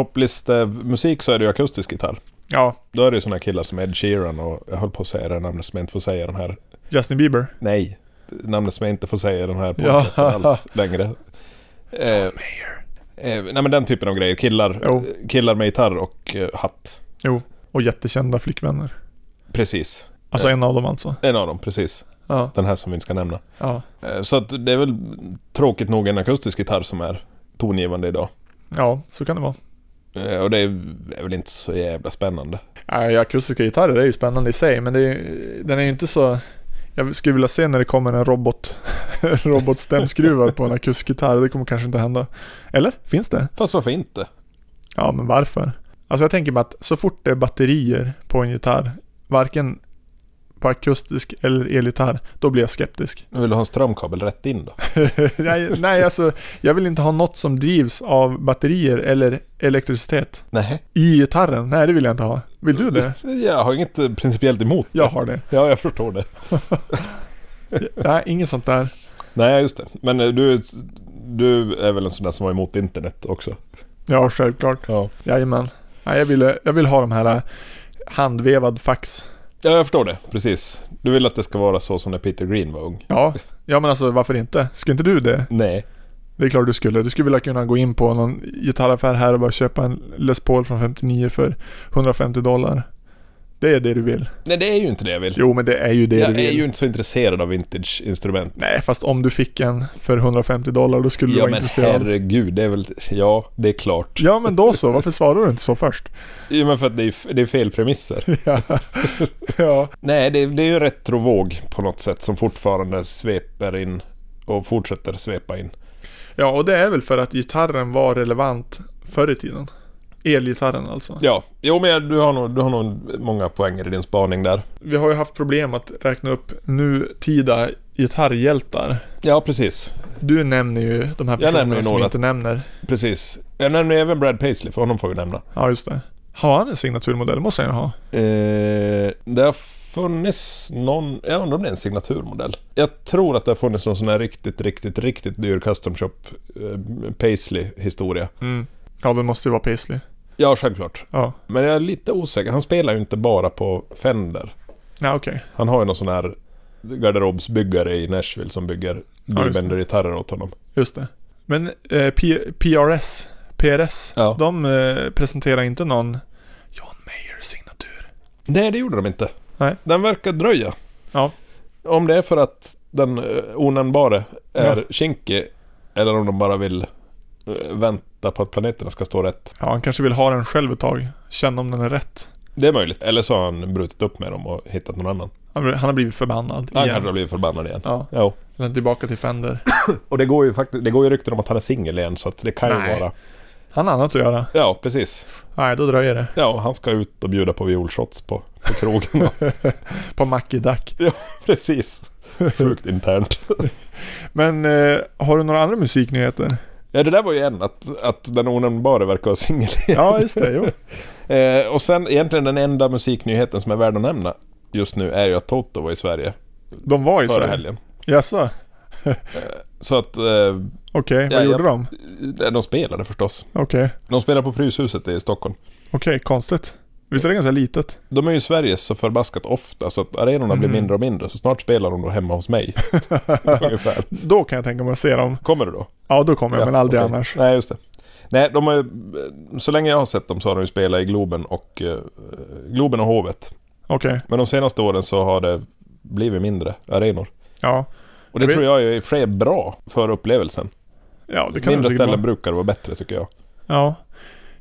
Speaker 2: topplistemusik så är det ju akustisk gitarr.
Speaker 1: Ja,
Speaker 2: Då är det ju sådana killar som Ed Sheeran och jag höll på att säga det namnet som jag inte får säga den här
Speaker 1: Justin Bieber.
Speaker 2: Nej, namnet som jag inte får säga i den här podcasten
Speaker 1: Ja.
Speaker 2: alls längre. Eh, eh, nej men den typen av grejer. Killar, eh,
Speaker 1: Jo.
Speaker 2: killar med gitarr och eh, hatt.
Speaker 1: Och jättekända flickvänner.
Speaker 2: Precis.
Speaker 1: Alltså
Speaker 2: Ja.
Speaker 1: en av dem alltså.
Speaker 2: En av dem, precis.
Speaker 1: Ja,
Speaker 2: Den här som vi inte ska nämna.
Speaker 1: ja,
Speaker 2: Eh, så att det är väl tråkigt nog en akustisk gitarr som är tongivande idag.
Speaker 1: ja, så kan det vara.
Speaker 2: Eh, och det är väl inte så jävla spännande.
Speaker 1: Nej, akustiska gitarrer är ju spännande i sig, men det är, den är ju inte så... Jag skulle vilja se när det kommer en robot, robotstämskruvar på en akustgitarr. Det kommer kanske inte hända. Eller? Finns det?
Speaker 2: Fast varför inte?
Speaker 1: Ja, men varför? Alltså jag tänker mig att så fort det är batterier på en gitarr, varken på akustisk eller elgitarr, då blir jag skeptisk.
Speaker 2: Nu vill du ha en strömkabel rätt in då?
Speaker 1: nej, nej, alltså jag vill inte ha något som drivs av batterier eller elektricitet
Speaker 2: Nej.
Speaker 1: i gitarren. Nej, det vill jag inte ha. Vill du det?
Speaker 2: Jag har inget eh, principiellt emot.
Speaker 1: Jag har det.
Speaker 2: Ja, jag förstår det.
Speaker 1: Nej, inget sånt där.
Speaker 2: Nej, just det. Men eh, du, du är väl en sån där som var emot internet också?
Speaker 1: Ja, självklart.
Speaker 2: Ja.
Speaker 1: Jajamän. Nej, jag, vill, jag vill ha de här eh, handvevad fax.
Speaker 2: Ja, jag förstår det. Precis. Du vill att det ska vara så som när Peter Green var ung?
Speaker 1: Ja, ja men alltså varför inte? Skulle inte du det?
Speaker 2: Nej.
Speaker 1: Det är klart du skulle. Du skulle vilja kunna gå in på någon gitarraffär här och bara köpa en Les Paul från 59 för 150 dollar. Det är det du vill.
Speaker 2: Nej, det är ju inte det jag vill.
Speaker 1: Jo, men det är ju det du
Speaker 2: jag är
Speaker 1: vill.
Speaker 2: ju inte så intresserad av vintage-instrument.
Speaker 1: Nej, fast om du fick en för 150 dollar då skulle du
Speaker 2: ja,
Speaker 1: vara
Speaker 2: men
Speaker 1: intresserad.
Speaker 2: herregud. Det är väl... Ja, det är klart.
Speaker 1: Ja, men då så. Varför svarar du inte så först?
Speaker 2: Jo, men för att det är, f- det är fel premisser.
Speaker 1: ja. ja.
Speaker 2: Nej, det, det är ju retrovåg på något sätt som fortfarande sveper in och fortsätter svepa in.
Speaker 1: ja, och det är väl för att gitarren var relevant förr i tiden. Elgitarren alltså.
Speaker 2: Ja, jo men jag- du har nog, du har nog många poänger i din spaning där.
Speaker 1: Vi har ju haft problem att räkna upp nutida gitarrhjältar.
Speaker 2: Ja, precis.
Speaker 1: Du nämner ju de här
Speaker 2: Jag
Speaker 1: personerna
Speaker 2: nämner ju
Speaker 1: som
Speaker 2: några.
Speaker 1: inte nämner.
Speaker 2: Precis. Jag nämner även Brad Paisley, för honom får vi nämna.
Speaker 1: Ja, just det. Har han en signaturmodell? måste han ju ha.
Speaker 2: Eh, det har funnits någon, jag undrar om det är en signaturmodell. Jag tror att det har funnits någon sån här riktigt, riktigt, riktigt dyr custom shop eh, Paisley-historia.
Speaker 1: Ja, den måste ju vara Paisley.
Speaker 2: Ja, självklart.
Speaker 1: Ja.
Speaker 2: Men jag är lite osäker. Han spelar ju inte bara på Fender.
Speaker 1: Nej, okej.
Speaker 2: Han har ju någon sån här garderobsbyggare i Nashville som bygger
Speaker 1: Ja, just det.
Speaker 2: Bender-gitarrer åt honom.
Speaker 1: Just det. Men eh, P- PRS, PRS,
Speaker 2: Ja.
Speaker 1: de eh, presenterar inte någon John Mayer signatur.
Speaker 2: Nej, det gjorde de inte.
Speaker 1: Nej.
Speaker 2: Den verkar dröja.
Speaker 1: Ja.
Speaker 2: Om det är för att den eh, onämnbare är
Speaker 1: Ja.
Speaker 2: kinkig eller om de bara vill eh, vänta på att planeterna ska stå rätt.
Speaker 1: Ja, han kanske vill ha den själv ett tag. Känna om den är rätt.
Speaker 2: Det är möjligt. Eller så har han brutit upp med dem och hittat någon annan.
Speaker 1: Han han har blivit förbannad
Speaker 2: Han kanske har
Speaker 1: igen.
Speaker 2: blivit förbannad igen.
Speaker 1: Ja,
Speaker 2: Jo.
Speaker 1: eller tillbaka till Fender.
Speaker 2: Och det går ju faktiskt, det går ju rykten om att han är singel igen så att det kan ju
Speaker 1: Nej.
Speaker 2: vara...
Speaker 1: Han har annat att göra.
Speaker 2: Ja, precis.
Speaker 1: Nej, då dröjer det.
Speaker 2: Ja, och han ska ut och bjuda på violshots på, på krogen.
Speaker 1: På Mackie Duck.
Speaker 2: precis. Sjukt internt.
Speaker 1: Men eh, har du några andra musiknyheter?
Speaker 2: Ja, det där var ju en, att, att den onämnbare verkar vara singel.
Speaker 1: Ja, just det. Jo.
Speaker 2: Eh, och sen egentligen den enda musiknyheten som är värd att nämna just nu är ju att Toto var i Sverige
Speaker 1: De var i
Speaker 2: förra
Speaker 1: Sverige.
Speaker 2: helgen.
Speaker 1: Jaså?
Speaker 2: Så att, eh,
Speaker 1: Okej,
Speaker 2: Ja,
Speaker 1: vad gjorde
Speaker 2: ja.
Speaker 1: de?
Speaker 2: de spelade förstås.
Speaker 1: Okej,
Speaker 2: De spelar på Fryshuset i Stockholm.
Speaker 1: okej, konstigt. Visst är det ganska litet?
Speaker 2: De är ju i Sverige så förbaskat ofta så att arenorna blir
Speaker 1: Mhm.
Speaker 2: mindre och mindre så snart spelar de då hemma hos mig. Ungefär.
Speaker 1: Då kan jag tänka mig att se dem.
Speaker 2: Kommer du då?
Speaker 1: Ja, då kommer jag,
Speaker 2: Ja,
Speaker 1: men aldrig
Speaker 2: okej.
Speaker 1: annars.
Speaker 2: Nej, just det. Nej, de har ju, så länge jag har sett dem så har de ju spelat i Globen och, eh, Globen och Hovet.
Speaker 1: Okej,
Speaker 2: Men de senaste åren så har det blivit mindre arenor.
Speaker 1: ja.
Speaker 2: Och det
Speaker 1: Jag vet-
Speaker 2: tror jag ju i och för sig är bra för upplevelsen.
Speaker 1: Ja, det kan det
Speaker 2: Mindre
Speaker 1: säkert
Speaker 2: ställen
Speaker 1: vara.
Speaker 2: brukar vara bättre tycker jag.
Speaker 1: Ja.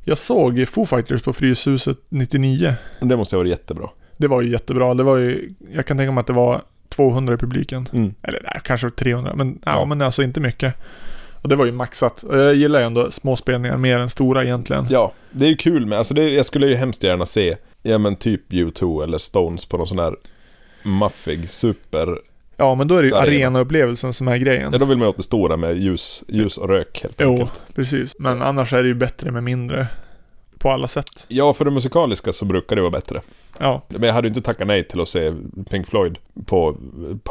Speaker 1: Jag såg Foo Fighters på Fryshuset 99.
Speaker 2: Och Det måste ha varit jättebra.
Speaker 1: Det var ju jättebra. Det var ju, jag kan tänka mig att det var 200 i publiken.
Speaker 2: Mm.
Speaker 1: Eller nej, kanske 300, men, ja.
Speaker 2: Ja.
Speaker 1: men alltså inte mycket. Och det var ju maxat. Och Jag gillar ju ändå små spelningar mer än stora egentligen.
Speaker 2: Ja, det är ju kul med, alltså det, jag skulle ju hemskt gärna se, ja men typ U2 eller Stones på någon sån här maffig super...
Speaker 1: Ja, men då är det ju
Speaker 2: Arena.
Speaker 1: arenaupplevelsen som är grejen.
Speaker 2: Ja, då vill man ju åt det stora med ljus, ljus och rök helt
Speaker 1: Jo.
Speaker 2: enkelt.
Speaker 1: Precis, men annars är det ju bättre med mindre. På alla sätt.
Speaker 2: Ja, för det musikaliska så brukar det vara bättre.
Speaker 1: Ja,
Speaker 2: Men jag hade ju inte tackat nej till att se Pink Floyd på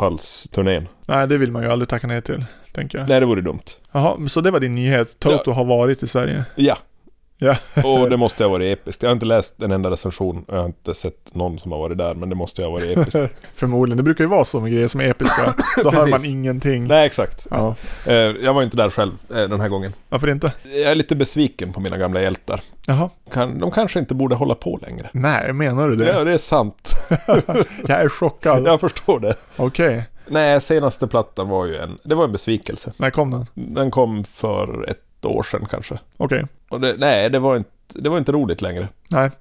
Speaker 2: Pulse-turnén.
Speaker 1: nej det vill man ju aldrig tacka nej till, tänker jag.
Speaker 2: Nej, det vore dumt.
Speaker 1: Jaha, så det var din nyhet. Toto har varit i Sverige.
Speaker 2: Ja.
Speaker 1: Ja.
Speaker 2: och det måste ha varit episkt. Jag har inte läst en enda recension. Jag har inte sett någon som har varit där, men det måste ju ha varit episkt.
Speaker 1: Förmodligen, det brukar ju vara så med grejer som är episka. Då hör
Speaker 2: Precis.
Speaker 1: man ingenting.
Speaker 2: Nej, exakt.
Speaker 1: Ja.
Speaker 2: Eh, Jag var ju inte där själv eh, den här gången.
Speaker 1: Varför inte?
Speaker 2: Jag är lite besviken på mina gamla hjältar.
Speaker 1: Jaha.
Speaker 2: Kan- De kanske inte borde hålla på längre.
Speaker 1: Nej, menar du det?
Speaker 2: Ja, det är sant.
Speaker 1: Jag är chockad.
Speaker 2: Jag förstår det.
Speaker 1: Okej,
Speaker 2: Nej, senaste plattan var ju en... Det var en besvikelse.
Speaker 1: när kom den?
Speaker 2: Den kom för ett år sedan kanske.
Speaker 1: Okej.
Speaker 2: Och det, nej, det var, inte, det var inte roligt längre.
Speaker 1: Nej.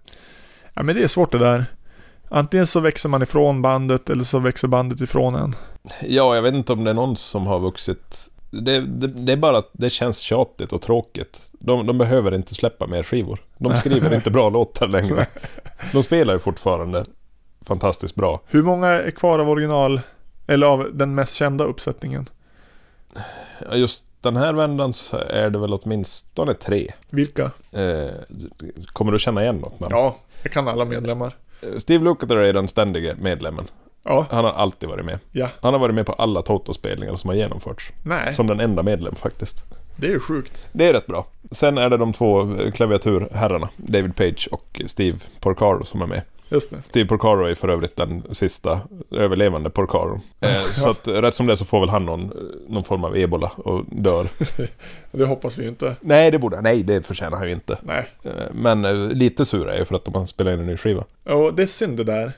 Speaker 1: Ja, men det är svårt det där. Antingen så växer man ifrån bandet eller så växer bandet ifrån en.
Speaker 2: Ja, jag vet inte om det är någon som har vuxit. Det, det, det är bara att det känns tjatigt och tråkigt. De, de behöver inte släppa mer skivor. De skriver inte bra låtar längre. De spelar ju fortfarande fantastiskt bra.
Speaker 1: Hur många är kvar av original, eller av den mest kända uppsättningen?
Speaker 2: Ja, Just den här vändan så är det väl åtminstone tre.
Speaker 1: Vilka?
Speaker 2: Eh, kommer du känna igen något namn?
Speaker 1: Ja, jag kan alla medlemmar.
Speaker 2: Steve Lukather är den ständige medlemmen.
Speaker 1: Ja,
Speaker 2: Han har alltid varit med.
Speaker 1: ja.
Speaker 2: Han har varit med på alla Toto-spelningar som har genomförts.
Speaker 1: Nej,
Speaker 2: Som den enda medlem faktiskt.
Speaker 1: det är ju sjukt.
Speaker 2: Det är rätt bra. Sen är det de två eh, klaviaturherrarna, David Page och Steve Porcaro som är med.
Speaker 1: Just det.
Speaker 2: Steve Porcaro är för övrigt den sista överlevande Porcaro. Eh, så att eh, rätt som det så får väl han någon, eh, någon form av ebola och dör.
Speaker 1: Det hoppas vi ju inte.
Speaker 2: nej, det borde han. Nej, det förtjänar han ju inte.
Speaker 1: Nej.
Speaker 2: Eh, men eh, lite sur är jag för att de har spelat in en ny skiva.
Speaker 1: Och det är synd det där.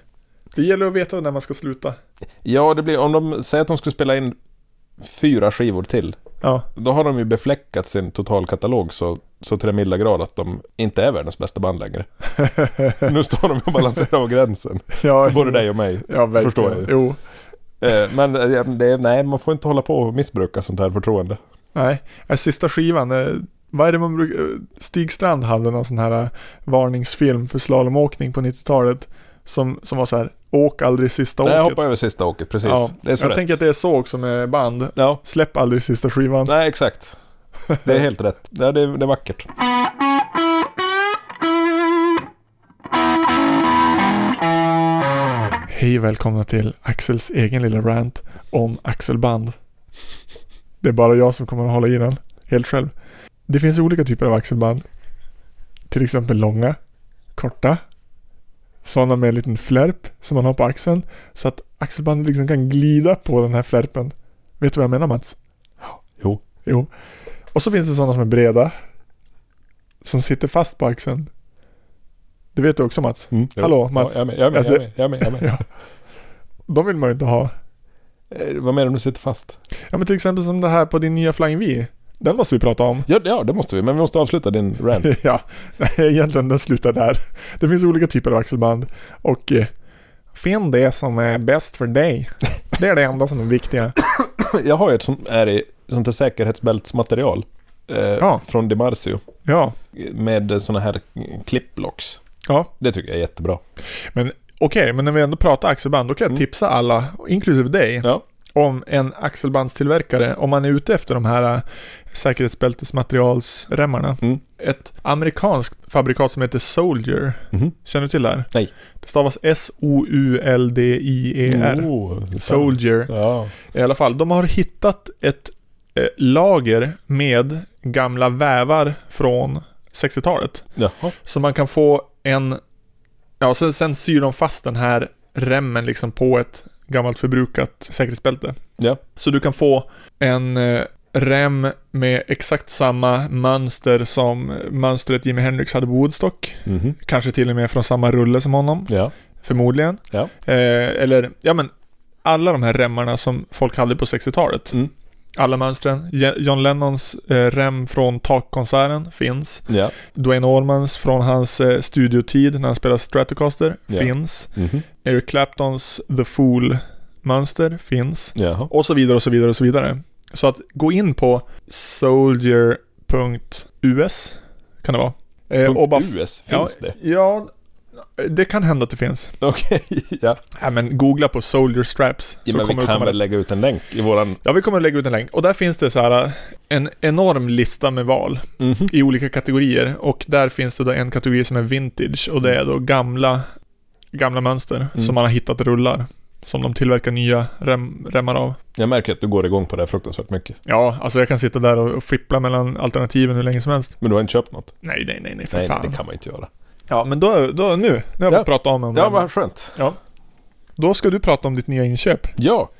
Speaker 1: Det gäller att veta när man ska sluta.
Speaker 2: Ja, det blir, om de säger att de skulle spela in fyra skivor till.
Speaker 1: Ja.
Speaker 2: Då har de ju befläckat sin totalkatalog så, så till den milda grad att de inte är världens bästa band längre. nu står de och balanserar på gränsen.
Speaker 1: ja
Speaker 2: För både dig och mig.
Speaker 1: Ja, verkligen.
Speaker 2: förstår jag ju.
Speaker 1: Jo.
Speaker 2: Eh, Men eh, det, är- nej, man får inte hålla på och missbruka sånt här förtroende.
Speaker 1: Nej, äh, sista skivan. eh, Vad är det man brukar... eh, Stig Strand hade någon sån här eh, varningsfilm för slalomåkning på 90-talet. Som, som var så här, åk aldrig sista
Speaker 2: Nej, jag
Speaker 1: åket.
Speaker 2: hoppar över sista åket, precis.
Speaker 1: Ja,
Speaker 2: det är så
Speaker 1: jag
Speaker 2: rätt.
Speaker 1: tänker att det är så också med band.
Speaker 2: Ja,
Speaker 1: Släpp aldrig sista skivan.
Speaker 2: nej exakt. Det är helt rätt. Ja, det, är, det är vackert.
Speaker 1: Hej och välkomna till Axels egen lilla rant om axelband. Det är bara jag som kommer att hålla i den, helt själv. Det finns olika typer av axelband. Till exempel långa, korta. Sådana med en liten flärp som man har på axeln. Så att axelbandet liksom kan glida på den här flärpen. Vet du vad jag menar Mats?
Speaker 2: Jo.
Speaker 1: Jo. Och så finns det sådana som är breda. Som sitter fast på axeln. Det vet du också Mats.
Speaker 2: Mm. jo.
Speaker 1: Hallå, Mats.
Speaker 2: Ja, jag är med, jag är med,
Speaker 1: Alltså-
Speaker 2: jag är med, jag är med, jag är med.
Speaker 1: Ja. De vill man ju inte ha.
Speaker 2: Eh, Vad menar du om du sitter fast?
Speaker 1: Ja men till exempel som det här på din nya Flying V. Den måste vi prata om.
Speaker 2: Ja, ja, det måste vi. Men vi måste avsluta din rant.
Speaker 1: ja, nej, egentligen den slutar där. Det finns olika typer av axelband och eh, finn det som är bäst för dig. Det är det enda som är viktiga.
Speaker 2: Jag har ju ett sånt, är i, sånt här säkerhetsbältsmaterial. Eh,
Speaker 1: Ja.
Speaker 2: Från Dimarsio.
Speaker 1: Ja,
Speaker 2: Med såna här klipplocks.
Speaker 1: ja.
Speaker 2: Det tycker jag är jättebra.
Speaker 1: Okej, men när vi ändå pratar axelband, då kan jag
Speaker 2: Mm.
Speaker 1: tipsa alla, inklusive dig,
Speaker 2: Ja.
Speaker 1: om en axelbandstillverkare. Om man är ute efter de här eh, säkerhetsbältesmaterialsremmarna.
Speaker 2: Mm.
Speaker 1: Ett amerikanskt fabrikat som heter Soldier.
Speaker 2: Mhm.
Speaker 1: Känner du till det här?
Speaker 2: Nej.
Speaker 1: Det stavas S-O-U-L-D-I-E-R.
Speaker 2: Oh,
Speaker 1: E Soldier.
Speaker 2: Ja.
Speaker 1: I alla fall, de har hittat ett eh, lager med gamla vävar från 60-talet.
Speaker 2: Jaha.
Speaker 1: Så man kan få en... Ja, sen, sen syr de fast den här remmen liksom på ett gammalt förbrukat säkerhetsbälte.
Speaker 2: Ja.
Speaker 1: Så du kan få en eh, rem med exakt samma mönster som eh, mönstret Jimi Hendrix hade på Woodstock.
Speaker 2: Mhm.
Speaker 1: Kanske till och med från samma rulle som honom,
Speaker 2: Ja.
Speaker 1: förmodligen.
Speaker 2: Ja.
Speaker 1: Eh, eller, ja men, alla de här remmarna som folk hade på 60-talet.
Speaker 2: Mm.
Speaker 1: Alla mönstren. Je- John Lennons eh, rem från takkonserten finns.
Speaker 2: Ja.
Speaker 1: Dwayne Allmans från hans eh, studiotid när han spelade Stratocaster
Speaker 2: Ja.
Speaker 1: finns.
Speaker 2: Mhm.
Speaker 1: Eric Claptons The Fool-mönster finns.
Speaker 2: Jaha.
Speaker 1: Och så vidare och så vidare och så vidare. Så att gå in på soldier.us kan det vara. Eh,
Speaker 2: Punkt
Speaker 1: och bara,
Speaker 2: US, finns
Speaker 1: ja,
Speaker 2: det?
Speaker 1: Ja, det kan hända att det finns.
Speaker 2: Okej, ja.
Speaker 1: Nej men googla på Soldier Straps.
Speaker 2: ja men
Speaker 1: kommer
Speaker 2: vi
Speaker 1: det
Speaker 2: kan
Speaker 1: komma
Speaker 2: väl lägga ut en länk i våran...
Speaker 1: Ja, vi kommer att lägga ut en länk. Och där finns det så här eh, en enorm lista med val
Speaker 2: Mhm.
Speaker 1: i olika kategorier. Och där finns det då en kategori som är vintage och det är då gamla, gamla mönster
Speaker 2: Mm.
Speaker 1: som man har hittat rullar. Som de tillverkar nya rem, remmar av.
Speaker 2: Jag märker att du går igång på det här fruktansvärt mycket.
Speaker 1: Ja, alltså jag kan sitta där och och fippla mellan alternativen hur länge som helst.
Speaker 2: Men du har inte köpt något?
Speaker 1: Nej, nej, nej, nej för
Speaker 2: Nej,
Speaker 1: fan.
Speaker 2: det kan man inte göra.
Speaker 1: Ja, men då, då nu, nu har jag
Speaker 2: Ja.
Speaker 1: fått prata om, om
Speaker 2: Ja,
Speaker 1: remmar.
Speaker 2: vad skönt.
Speaker 1: Då ska du prata om ditt nya inköp.
Speaker 2: Ja,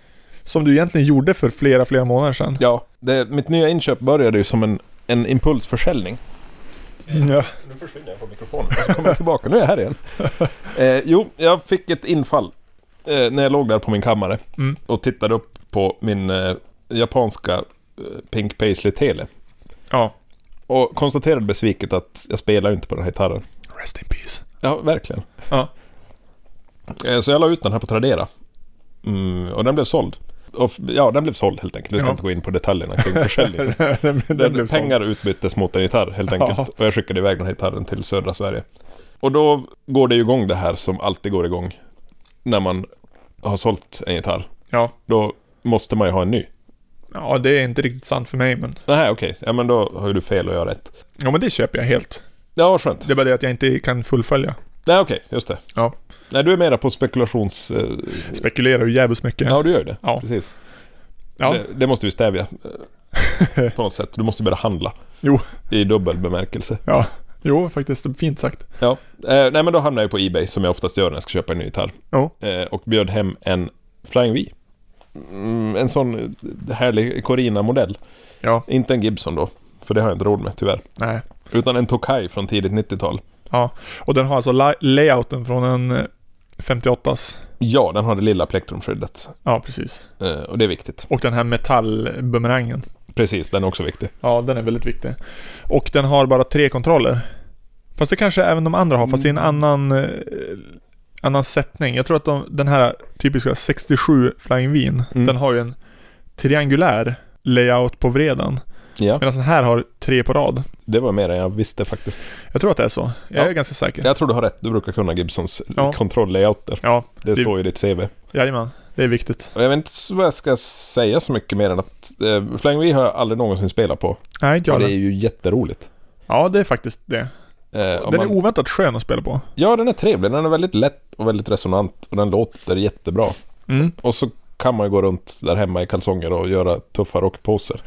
Speaker 1: Som du egentligen gjorde för flera, flera månader sedan.
Speaker 2: ja. Det, mitt nya inköp började ju som en, en impulsförsäljning.
Speaker 1: Ja.
Speaker 2: Nu försvinner jag från mikrofonen. Så kommer jag tillbaka. Nu är jag här igen. Eh, jo, jag fick ett infall eh, när jag låg där på min kammare
Speaker 1: Mm.
Speaker 2: och tittade upp på min eh, japanska eh, Pink Paisley Tele.
Speaker 1: ja.
Speaker 2: Och konstaterade besviket att jag spelar ju inte på den här gitarren.
Speaker 1: Rest in peace.
Speaker 2: Ja, verkligen.
Speaker 1: Ja.
Speaker 2: Eh, Så jag la ut den här på Tradera. Mm, och den blev såld. Och, f- ja, den blev såld helt enkelt. Jag ska
Speaker 1: Ja.
Speaker 2: inte gå in på detaljerna kring försäljningen.
Speaker 1: den,
Speaker 2: Den
Speaker 1: blev såld.
Speaker 2: pengar utbyttes mot en gitarr helt
Speaker 1: Ja.
Speaker 2: enkelt. Och jag skickade iväg den här gitarren till södra Sverige. Och då går det ju igång det här som alltid går igång. När man har sålt en gitarr.
Speaker 1: Ja.
Speaker 2: Då måste man ju ha en ny.
Speaker 1: Ja, det är inte riktigt sant för mig, men...
Speaker 2: Nej, okej. Ja, men då har ju du fel och jag har rätt.
Speaker 1: Ja, men det köper jag helt.
Speaker 2: Ja, vad skönt.
Speaker 1: Det är bara det att jag inte kan fullfölja.
Speaker 2: Nej, okej. Just det.
Speaker 1: Ja.
Speaker 2: Nej, du är mera på spekulations... eh,
Speaker 1: Spekulerar ju jävligt mycket.
Speaker 2: Ja, du gör ju det.
Speaker 1: Ja.
Speaker 2: Precis.
Speaker 1: Ja.
Speaker 2: Det, det måste vi stävja. eh, På något sätt. Du måste börja handla.
Speaker 1: Jo.
Speaker 2: I dubbel bemärkelse.
Speaker 1: ja. Jo, faktiskt. Fint sagt.
Speaker 2: Ja. Eh, nej, men då hamnar jag på Ebay som jag oftast gör när jag ska köpa en ny gitarr.
Speaker 1: Ja.
Speaker 2: Eh, och bjöd hem en Flying V. Mm, en sån härlig Corina-modell.
Speaker 1: Ja.
Speaker 2: Inte en Gibson då, för det har jag inte råd med tyvärr.
Speaker 1: Nej.
Speaker 2: Utan en Tokai från tidigt 90-tal.
Speaker 1: Ja. Och den har alltså la- layouten från en eh, 58s.
Speaker 2: Ja, den har det lilla plektrumskyddet.
Speaker 1: Ja, precis.
Speaker 2: Eh, och det är viktigt.
Speaker 1: Och den här metallbumerangen.
Speaker 2: Precis, den är också viktig.
Speaker 1: Ja, den är väldigt viktig. Och den har bara tre kontroller. Fast det kanske även de andra har, fast i en
Speaker 2: Mm.
Speaker 1: annan, eh, annan sättning. Jag tror att de, den här typiska 67 Flying Wien,
Speaker 2: Mm.
Speaker 1: den har ju en triangulär layout på vredan.
Speaker 2: Ja,
Speaker 1: Medan den här har tre på rad.
Speaker 2: det var mer än jag visste faktiskt.
Speaker 1: Jag tror att det är så. Jag
Speaker 2: Ja.
Speaker 1: är ganska säker.
Speaker 2: Jag tror du har rätt, du brukar kunna Gibsons
Speaker 1: Ja.
Speaker 2: kontroll-layouter.
Speaker 1: Ja,
Speaker 2: Det
Speaker 1: Det-
Speaker 2: står ju i ditt CV.
Speaker 1: jajamän. Det är viktigt.
Speaker 2: Och jag vet inte så vad jag ska säga så mycket mer än att eh, Flying V har jag aldrig någonsin spelat på.
Speaker 1: Nej, inte
Speaker 2: Ja,
Speaker 1: jag
Speaker 2: det är
Speaker 1: det.
Speaker 2: ju jätteroligt.
Speaker 1: Ja, det är faktiskt det.
Speaker 2: Eh, om
Speaker 1: Den
Speaker 2: man-
Speaker 1: är oväntat skön att spela på.
Speaker 2: Ja, den är trevlig. Den är väldigt lätt och väldigt resonant och den låter jättebra.
Speaker 1: Mm.
Speaker 2: Och så kan man ju gå runt där hemma i kalsonger och göra tuffa rockposer.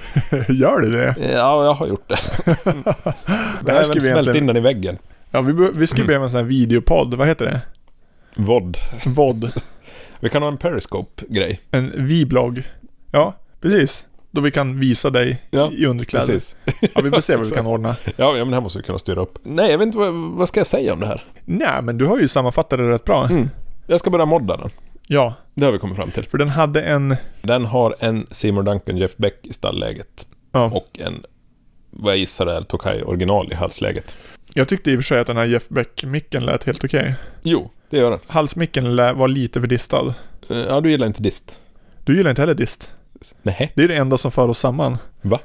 Speaker 1: Gör det det?
Speaker 2: Ja, jag har gjort det.
Speaker 1: Det
Speaker 2: Det
Speaker 1: här
Speaker 2: här
Speaker 1: ska vi
Speaker 2: smält
Speaker 1: egentligen...
Speaker 2: in den i väggen.
Speaker 1: Ja, vi, be- vi skulle behöva en sån här videopodd. Vad heter det?
Speaker 2: Vod.
Speaker 1: Vod.
Speaker 2: Vi kan ha en periscope-grej.
Speaker 1: En viblogg. Ja, precis. Då vi kan visa dig
Speaker 2: Ja,
Speaker 1: i underkläder.
Speaker 2: Precis.
Speaker 1: Ja, vi får se vad vi kan ordna.
Speaker 2: Ja, ja, men det här måste vi kunna styra upp. Nej, jag vet inte vad, vad ska jag säga om det här.
Speaker 1: Nej, men du har ju sammanfattat det rätt bra.
Speaker 2: Mm. Jag ska börja modda den.
Speaker 1: Ja,
Speaker 2: Det har vi kommit fram till.
Speaker 1: för den hade en...
Speaker 2: Den har en Seymour Duncan Jeff Beck i stallläget.
Speaker 1: Ja.
Speaker 2: Och en, vad jag gissar är, Tokai original i halsläget.
Speaker 1: Jag tyckte i och för sig att den här Jeff Beck-micken lät helt okej.
Speaker 2: Jo, det gör den.
Speaker 1: Halsmicken lä- var lite för distad.
Speaker 2: Eh, Ja, du gillar inte dist.
Speaker 1: Du gillar inte heller dist.
Speaker 2: Nej.
Speaker 1: Det är det enda som för oss samman.
Speaker 2: Va?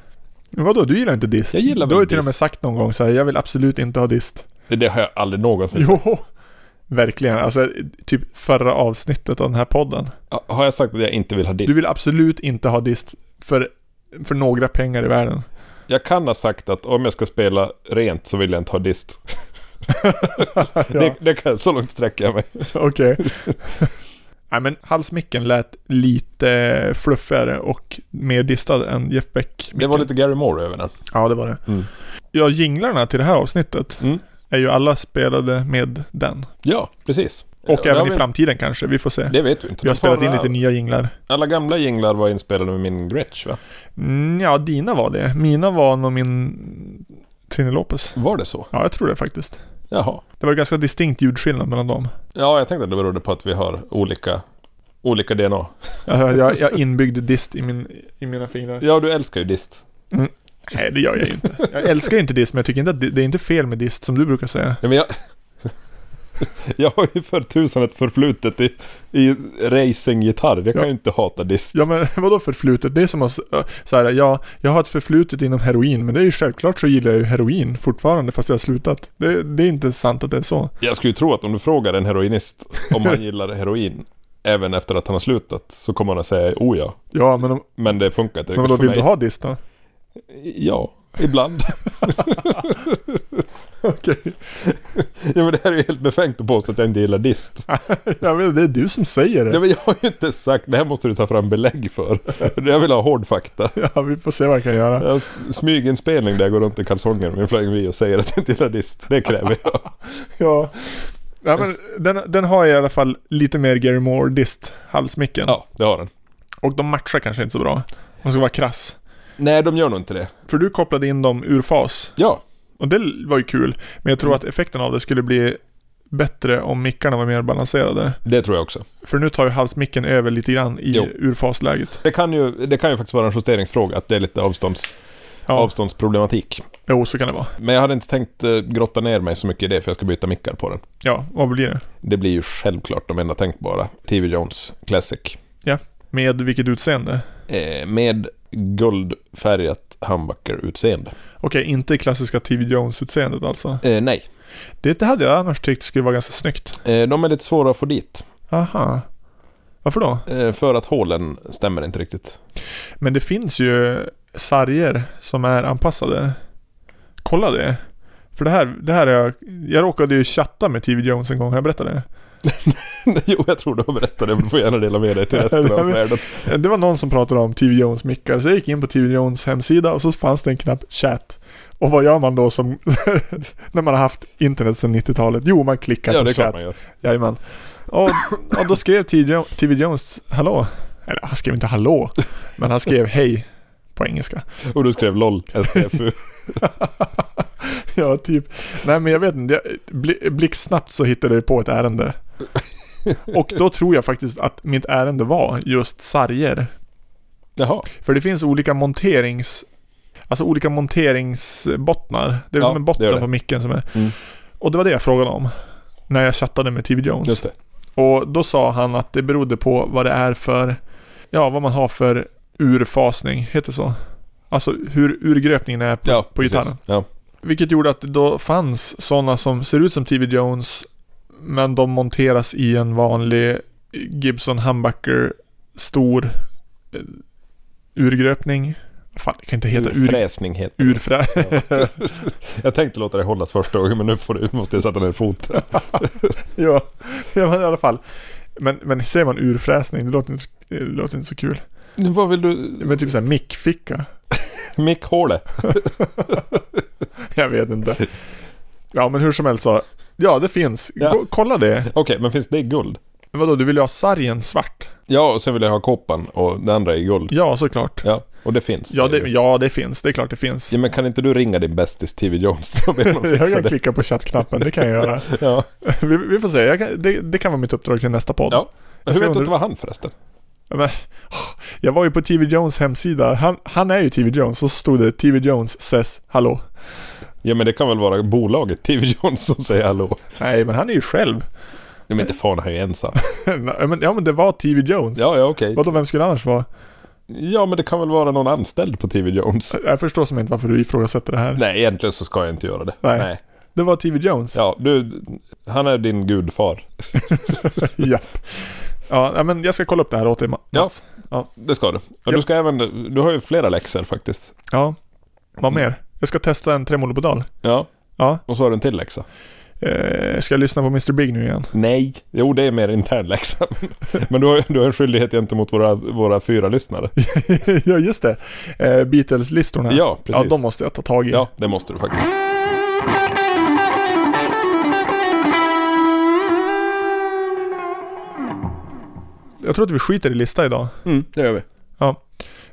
Speaker 1: Men vadå, du gillar inte dist?
Speaker 2: Jag gillar
Speaker 1: Du har
Speaker 2: väl
Speaker 1: ju till och med
Speaker 2: dist.
Speaker 1: sagt någon gång så här, jag vill absolut inte ha dist.
Speaker 2: Det, det har jag aldrig någonsin sagt.
Speaker 1: Jo! Verkligen, alltså typ förra avsnittet av den här podden.
Speaker 2: Ja, Har jag sagt att jag inte vill ha dist?
Speaker 1: Du vill absolut inte ha dist för, för några pengar i världen.
Speaker 2: Jag kan ha sagt att om jag ska spela rent så vill jag inte ha dist.
Speaker 1: ja,
Speaker 2: Det, det kan, så långt sträcker jag mig.
Speaker 1: okej. Nej men halsmicken lät lite fluffigare och mer distad än Jeff Beck.
Speaker 2: Det var lite Gary Moore över den.
Speaker 1: Ja, det var det.
Speaker 2: Mm.
Speaker 1: Ja, jinglarna till det här avsnittet
Speaker 2: Mm.
Speaker 1: är ju alla spelade med den.
Speaker 2: Ja, precis.
Speaker 1: Och
Speaker 2: det har
Speaker 1: även i
Speaker 2: vi-
Speaker 1: framtiden kanske, vi får se.
Speaker 2: Det vet vi inte.
Speaker 1: Vi har
Speaker 2: De
Speaker 1: spelat in
Speaker 2: förra-
Speaker 1: lite nya jinglar.
Speaker 2: Alla gamla jinglar var inspelade med min Gretsch va?
Speaker 1: Mm, ja, dina var det. Mina var nog min Trini Lopez.
Speaker 2: Var det så?
Speaker 1: Ja, jag tror det faktiskt.
Speaker 2: Jaha.
Speaker 1: Det var ganska distinkt ljudskillnad mellan dem.
Speaker 2: Ja, jag tänkte att det berodde på att vi har olika, olika DNA.
Speaker 1: Jag, jag, jag inbyggde dist i, min, i mina fingrar.
Speaker 2: Ja, du älskar ju dist.
Speaker 1: Nej, det gör jag ju inte. Jag älskar ju inte dist, men jag tycker inte att det, det är inte fel med dist som du brukar säga.
Speaker 2: Nej, men jag... jag har ju för tusan ett förflutet i, i racinggitarr. Jag kan
Speaker 1: Ja.
Speaker 2: ju inte hata dist.
Speaker 1: Ja men vadå förflutet? Det är som att äh, så här, ja, jag har ett förflutet inom heroin, men det är ju självklart så gillar jag ju heroin fortfarande fast jag har slutat. Det, det är inte sant att det är så.
Speaker 2: Jag skulle ju tro att om du frågar en heroinist om han gillar heroin även efter att han har slutat så kommer han att säga oh ja.
Speaker 1: Ja men, om,
Speaker 2: Men det funkar inte
Speaker 1: men
Speaker 2: riktigt
Speaker 1: vadå,
Speaker 2: för
Speaker 1: vill
Speaker 2: mig.
Speaker 1: du ha dist då?
Speaker 2: Ja, ibland.
Speaker 1: Okej.
Speaker 2: ja, men det här är ju helt befängt att påstå att jag inte gillar dist.
Speaker 1: Ja men det är du som säger
Speaker 2: Nej
Speaker 1: det.
Speaker 2: men jag har ju inte sagt, det här måste du ta fram belägg för. Jag vill ha hård fakta.
Speaker 1: Ja vi får se vad jag kan göra.
Speaker 2: Jag smyger en spelning där jag går runt i kalsonger med en Flying V och säger att jag inte gillar dist. Det kräver jag.
Speaker 1: Ja. Ja men den, den har i alla fall lite mer Gary Moore dist, halsmicken.
Speaker 2: Ja, det har den.
Speaker 1: Och de matchar kanske inte så bra. De ska vara krass.
Speaker 2: Nej, de gör nog inte det.
Speaker 1: För du kopplade in dem ur fas.
Speaker 2: Ja,
Speaker 1: Och det var ju kul. Men jag tror att effekten av det skulle bli bättre om mickarna var mer balanserade.
Speaker 2: det tror jag också.
Speaker 1: För nu tar ju halsmicken över lite grann i
Speaker 2: Jo.
Speaker 1: urfasläget.
Speaker 2: Det kan ju, det kan ju faktiskt vara en justeringsfråga, att det är lite avstånds,
Speaker 1: Ja,
Speaker 2: avståndsproblematik.
Speaker 1: jo så kan det vara.
Speaker 2: Men jag hade inte tänkt eh, grotta ner mig så mycket i det, för jag ska byta mickar på den.
Speaker 1: Ja, vad blir det?
Speaker 2: Det blir ju självklart de enda tänkbara. TV Jones Classic.
Speaker 1: Med vilket utseende?
Speaker 2: Eh, med guldfärgat humbucker-utseende.
Speaker 1: Okej, inte klassiska TV Jones-utseendet alltså.
Speaker 2: Eh, nej,
Speaker 1: Det hade jag annars tyckt skulle vara ganska snyggt.
Speaker 2: Eh, De är lite svåra att få dit.
Speaker 1: Aha. Varför då?
Speaker 2: eh, För att hålen stämmer inte riktigt.
Speaker 1: Men det finns ju sarger som är anpassade. Kolla det. För det här, det här är jag... Jag råkade ju chatta med TV Jones en gång, har jag berättat det?
Speaker 2: jo, jag tror du har berättat det, men du får gärna dela med dig till resten
Speaker 1: Ja,
Speaker 2: av
Speaker 1: men-
Speaker 2: världen.
Speaker 1: Det var någon som pratade om TV Jones mickar, så jag gick in på TV Jones hemsida och så fanns det en knapp chat. Och vad gör man då som, när man har haft internet sedan 90-talet? Jo, man klickar
Speaker 2: Ja,
Speaker 1: på
Speaker 2: det är klart
Speaker 1: chat.
Speaker 2: man gör.
Speaker 1: Jajamän. Och, och då skrev TV Jo- TV Jones hallå. Eller han skrev inte hallå, men han skrev hej på engelska.
Speaker 2: Och du skrev LOL, STFU.
Speaker 1: Ja, typ. Nej, men jag vet inte. jag- bli- Blixtsnabbt så hittade jag på ett ärende. Och då tror jag faktiskt att mitt ärende var just sarger.
Speaker 2: Jaha,
Speaker 1: För det finns olika monterings... Alltså olika monteringsbottnar. Det är
Speaker 2: Ja,
Speaker 1: som en
Speaker 2: det gör
Speaker 1: botten
Speaker 2: det.
Speaker 1: på micken som är...
Speaker 2: Mm.
Speaker 1: Och det var det jag frågade om. När jag chattade med TV Jones.
Speaker 2: just det.
Speaker 1: Och då sa han att det berodde på vad det är för... Ja, vad man har för urfasning. Heter det så? Alltså hur urgröpningen är på,
Speaker 2: Ja,
Speaker 1: på
Speaker 2: precis.
Speaker 1: gitarren.
Speaker 2: Ja.
Speaker 1: Vilket gjorde att det då fanns sådana som ser ut som TV Jones. Men de monteras i en vanlig Gibson Humbucker stor eh, urgröpning. Fan, det kan inte heta ur,
Speaker 2: Urfräsning heter det.
Speaker 1: urfrä...
Speaker 2: Jag tänkte låta dig hållas första gången, men nu får du, måste jag sätta ner foten.
Speaker 1: ja. ja, men i alla fall. Men, men säger man urfräsning, det låter inte, så- det låter inte så kul.
Speaker 2: Vad vill du?
Speaker 1: Men typ såhär mickficka.
Speaker 2: Mickhåle.
Speaker 1: Jag vet inte. Ja men hur som helst så. Ja det finns.
Speaker 2: Ja.
Speaker 1: Gå, kolla det.
Speaker 2: Okej, men finns det i guld?
Speaker 1: Men vadå du vill ju ha sargen svart?
Speaker 2: Ja, och sen vill jag ha koppan och det andra är i guld.
Speaker 1: Ja såklart.
Speaker 2: Ja, och det finns.
Speaker 1: Ja
Speaker 2: säger
Speaker 1: det,
Speaker 2: du.
Speaker 1: ja det finns, det är klart det finns.
Speaker 2: ja men kan inte du ringa din bästis TV Jones och be honom
Speaker 1: Jag
Speaker 2: fixa
Speaker 1: kan
Speaker 2: det?
Speaker 1: klicka på chattknappen, det kan jag göra.
Speaker 2: Ja.
Speaker 1: Vi, vi får se, jag kan, det, det kan vara mitt uppdrag till nästa podd.
Speaker 2: Ja.
Speaker 1: Jag
Speaker 2: Hur
Speaker 1: ser
Speaker 2: vet
Speaker 1: om
Speaker 2: du att
Speaker 1: du-
Speaker 2: det var han förresten?
Speaker 1: Ja, Men, jag var ju på TV Jones hemsida, han, han är ju TV Jones, och så stod det TV Jones says hallå.
Speaker 2: Ja men det kan väl vara bolaget TV Jones som säger hallå.
Speaker 1: Nej men han är ju själv.
Speaker 2: Nej men inte fan, han är ju ensam.
Speaker 1: Nej, men, ja men det var TV Jones.
Speaker 2: Ja, ja okej.
Speaker 1: Vadå, vem skulle det annars vara?
Speaker 2: Ja men det kan väl vara någon anställd på TV Jones.
Speaker 1: Jag förstår som inte varför du ifrågasätter det här.
Speaker 2: Nej egentligen så ska jag inte göra det.
Speaker 1: Nej. Det var TV Jones.
Speaker 2: Ja, du, han är din gudfar.
Speaker 1: Ja. ja. nej, men jag ska kolla upp det här åt dig Ma-
Speaker 2: Ja.
Speaker 1: Mats.
Speaker 2: Det ska du. Och
Speaker 1: Ja.
Speaker 2: du ska även, du har ju flera läxor faktiskt.
Speaker 1: Ja. Vad mer? Jag ska testa en tremolopedal.
Speaker 2: Ja.
Speaker 1: Ja.
Speaker 2: Och så har du en till läxa.
Speaker 1: Eh, ska jag lyssna på Mr Big nu igen?
Speaker 2: Nej. Jo, det är mer intern läxa. Men du har, du har en skyldighet gentemot våra, våra fyra lyssnare.
Speaker 1: ja, just det. Eh, Beatles-listorna.
Speaker 2: Ja, precis.
Speaker 1: ja, de måste jag ta tag i.
Speaker 2: Ja, det måste du faktiskt.
Speaker 1: Jag tror att vi skiter i lista idag.
Speaker 2: Mm, det gör vi.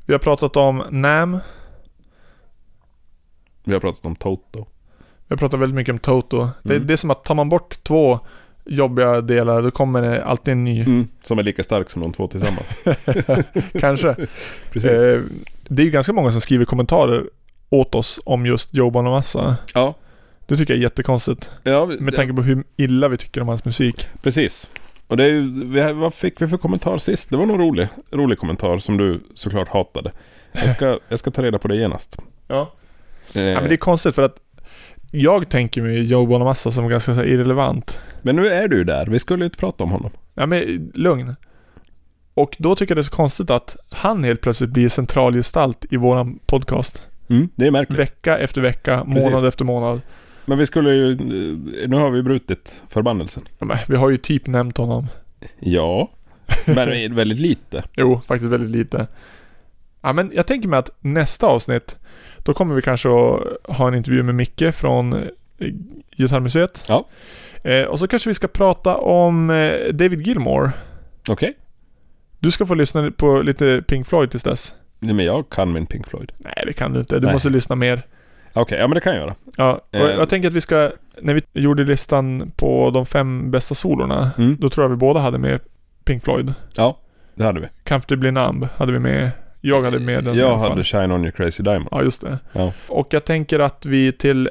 Speaker 1: Vi har pratat om NAM.
Speaker 2: Vi har pratat om Toto.
Speaker 1: Vi har pratat väldigt mycket om Toto. Det,
Speaker 2: Mm.
Speaker 1: det är som att tar man bort två jobbiga delar, då kommer det alltid en ny.
Speaker 2: Som är lika stark som de två tillsammans.
Speaker 1: Kanske.
Speaker 2: Precis.
Speaker 1: Eh, det är ju ganska många som skriver kommentarer åt oss om just Joe Bonamassa.
Speaker 2: Ja.
Speaker 1: Det tycker jag är jättekonstigt.
Speaker 2: Ja, vi-
Speaker 1: Med tanke på hur illa vi tycker om hans musik.
Speaker 2: Precis. Och det är ju, vi- vad fick vi för kommentar sist? Det var någon rolig, rolig kommentar som du såklart hatade. Jag ska, jag ska ta reda på det genast.
Speaker 1: Ja.
Speaker 2: Eh,
Speaker 1: ja men
Speaker 2: men,
Speaker 1: det är konstigt för att jag tänker mig Joe Bonamassa som ganska så här irrelevant.
Speaker 2: nu är du ju där. Vi skulle ju inte prata om honom.
Speaker 1: Ja men lugn. Och då tycker jag det är så konstigt att han helt plötsligt blir centralgestalt i våran podcast.
Speaker 2: Det är märkligt.
Speaker 1: Vecka efter vecka,
Speaker 2: Precis.
Speaker 1: månad efter månad.
Speaker 2: Men vi skulle ju... eh, Nu har vi brutit förbannelsen.
Speaker 1: Ja, men Vi har ju typ nämnt honom.
Speaker 2: Ja. Men väldigt lite.
Speaker 1: Jo, faktiskt väldigt lite. Ja, men jag tänker mig att nästa avsnitt, då kommer vi kanske att ha en intervju med Micke från eh, Gitarrmuseet.
Speaker 2: Ja.
Speaker 1: Eh, och så kanske vi ska prata om eh, David Gilmore.
Speaker 2: Okej.
Speaker 1: Du ska få lyssna på lite Pink Floyd tills dess.
Speaker 2: Nej men jag kan min Pink Floyd.
Speaker 1: Nej, det kan du inte. Du
Speaker 2: Nej.
Speaker 1: måste lyssna mer.
Speaker 2: Okej, ja men det kan jag göra.
Speaker 1: Ja, och
Speaker 2: Eh.
Speaker 1: jag tänker att vi ska, när vi gjorde listan på de fem bästa solorna,
Speaker 2: Mm.
Speaker 1: då tror jag vi båda hade med Pink Floyd.
Speaker 2: Ja, det hade vi.
Speaker 1: Comfortably Numb hade vi med. Jag hade med den i
Speaker 2: jag
Speaker 1: alla fall.
Speaker 2: hade Shine On Your Crazy Diamond.
Speaker 1: Ja, just det.
Speaker 2: Ja.
Speaker 1: Och jag tänker att vi till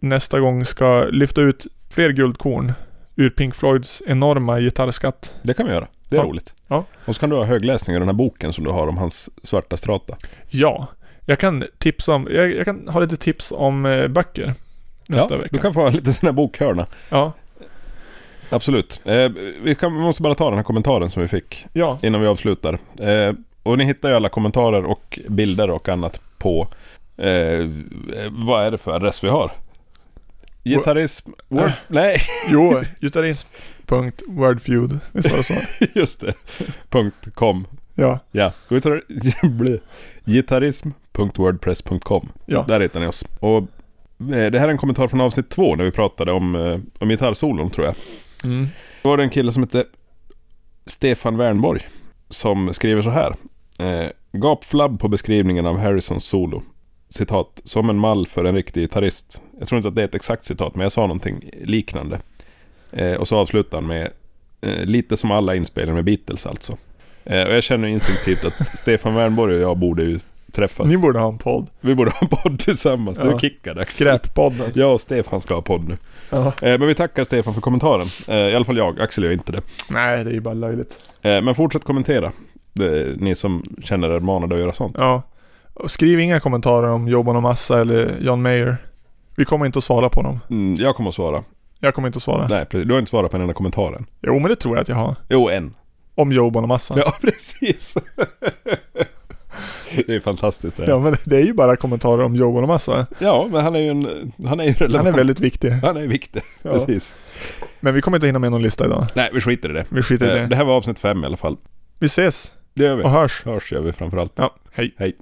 Speaker 1: nästa gång ska lyfta ut fler guldkorn ur Pink Floyds enorma gitarrskatt.
Speaker 2: Det kan vi göra. Det är
Speaker 1: Ja.
Speaker 2: roligt.
Speaker 1: Ja.
Speaker 2: Och så kan du ha högläsning i den här boken som du har om hans svarta strata.
Speaker 1: Ja, jag kan tipsa om, jag, jag kan ha lite tips om eh, böcker nästa
Speaker 2: ja,
Speaker 1: vecka.
Speaker 2: Du kan få en liten sån här bokhörna.
Speaker 1: Ja,
Speaker 2: Absolut. Eh, vi, kan, vi måste bara ta den här kommentaren som vi fick
Speaker 1: ja,
Speaker 2: innan vi avslutar. Eh, och ni hittar ju alla kommentarer och bilder och annat på eh, vad är det för adress vi har? Gitarrism... Word, nej,
Speaker 1: jo, gitarrism.wordfeud, visst var det så?
Speaker 2: just det. Punkt .com.
Speaker 1: Ja,
Speaker 2: Ja, gitarr, blä. gitarrism.wordpress.com.
Speaker 1: Ja.
Speaker 2: Där hittar ni oss. Och eh, det här är en kommentar från avsnitt två när vi pratade om, eh, om gitarrsolon tror jag.
Speaker 1: mm.
Speaker 2: Då var det en kille som hette Stefan Wernborg som skriver så här. Eh, Gapflabb på beskrivningen av Harrisons solo. Citat, som en mall för en riktig gitarrist. Jag tror inte att det är ett exakt citat, men jag sa någonting liknande. Eh, och så avslutar han med, eh, lite som alla inspelningar med Beatles alltså. Eh, och jag känner instinktivt att Stefan Wernborg och jag borde ju träffas.
Speaker 1: ni borde ha en podd.
Speaker 2: Vi borde ha en podd tillsammans. Du
Speaker 1: Ja.
Speaker 2: är kickad Axel.
Speaker 1: Skräppodden.
Speaker 2: Jag och Stefan ska ha podd nu.
Speaker 1: Ja.
Speaker 2: Eh, men vi tackar Stefan för kommentaren. Eh, I alla fall jag, Axel gör inte det.
Speaker 1: Nej, det är ju bara löjligt.
Speaker 2: Eh, Men fortsätt kommentera. Det- Ni som känner er manade att göra sånt.
Speaker 1: Ja. Och skriv inga kommentarer om Jobban och Massa eller John Mayer. Vi kommer inte att svara på dem.
Speaker 2: Mm, jag kommer att svara.
Speaker 1: Jag kommer inte att svara.
Speaker 2: Nej, precis. Du har inte svarat på en enda kommentar än.
Speaker 1: Jo, men det tror jag att jag har.
Speaker 2: Jo, en.
Speaker 1: Om Joe Bonamassa.
Speaker 2: Ja, precis. Det är fantastiskt det.
Speaker 1: Ja, men det är ju bara kommentarer om Joe Bonamassa.
Speaker 2: Ja, men han är ju en... Han är ju relevant.
Speaker 1: Han är väldigt viktig.
Speaker 2: Han är viktig,
Speaker 1: Ja.
Speaker 2: precis.
Speaker 1: Men vi kommer inte hinna med någon lista idag.
Speaker 2: Nej, vi skiter i det.
Speaker 1: Vi skiter i
Speaker 2: Eh,
Speaker 1: det.
Speaker 2: Det här var avsnitt fem i alla fall.
Speaker 1: Vi ses
Speaker 2: Det gör vi.
Speaker 1: och hörs.
Speaker 2: Hörs gör vi framförallt.
Speaker 1: Ja, hej.
Speaker 2: Hej.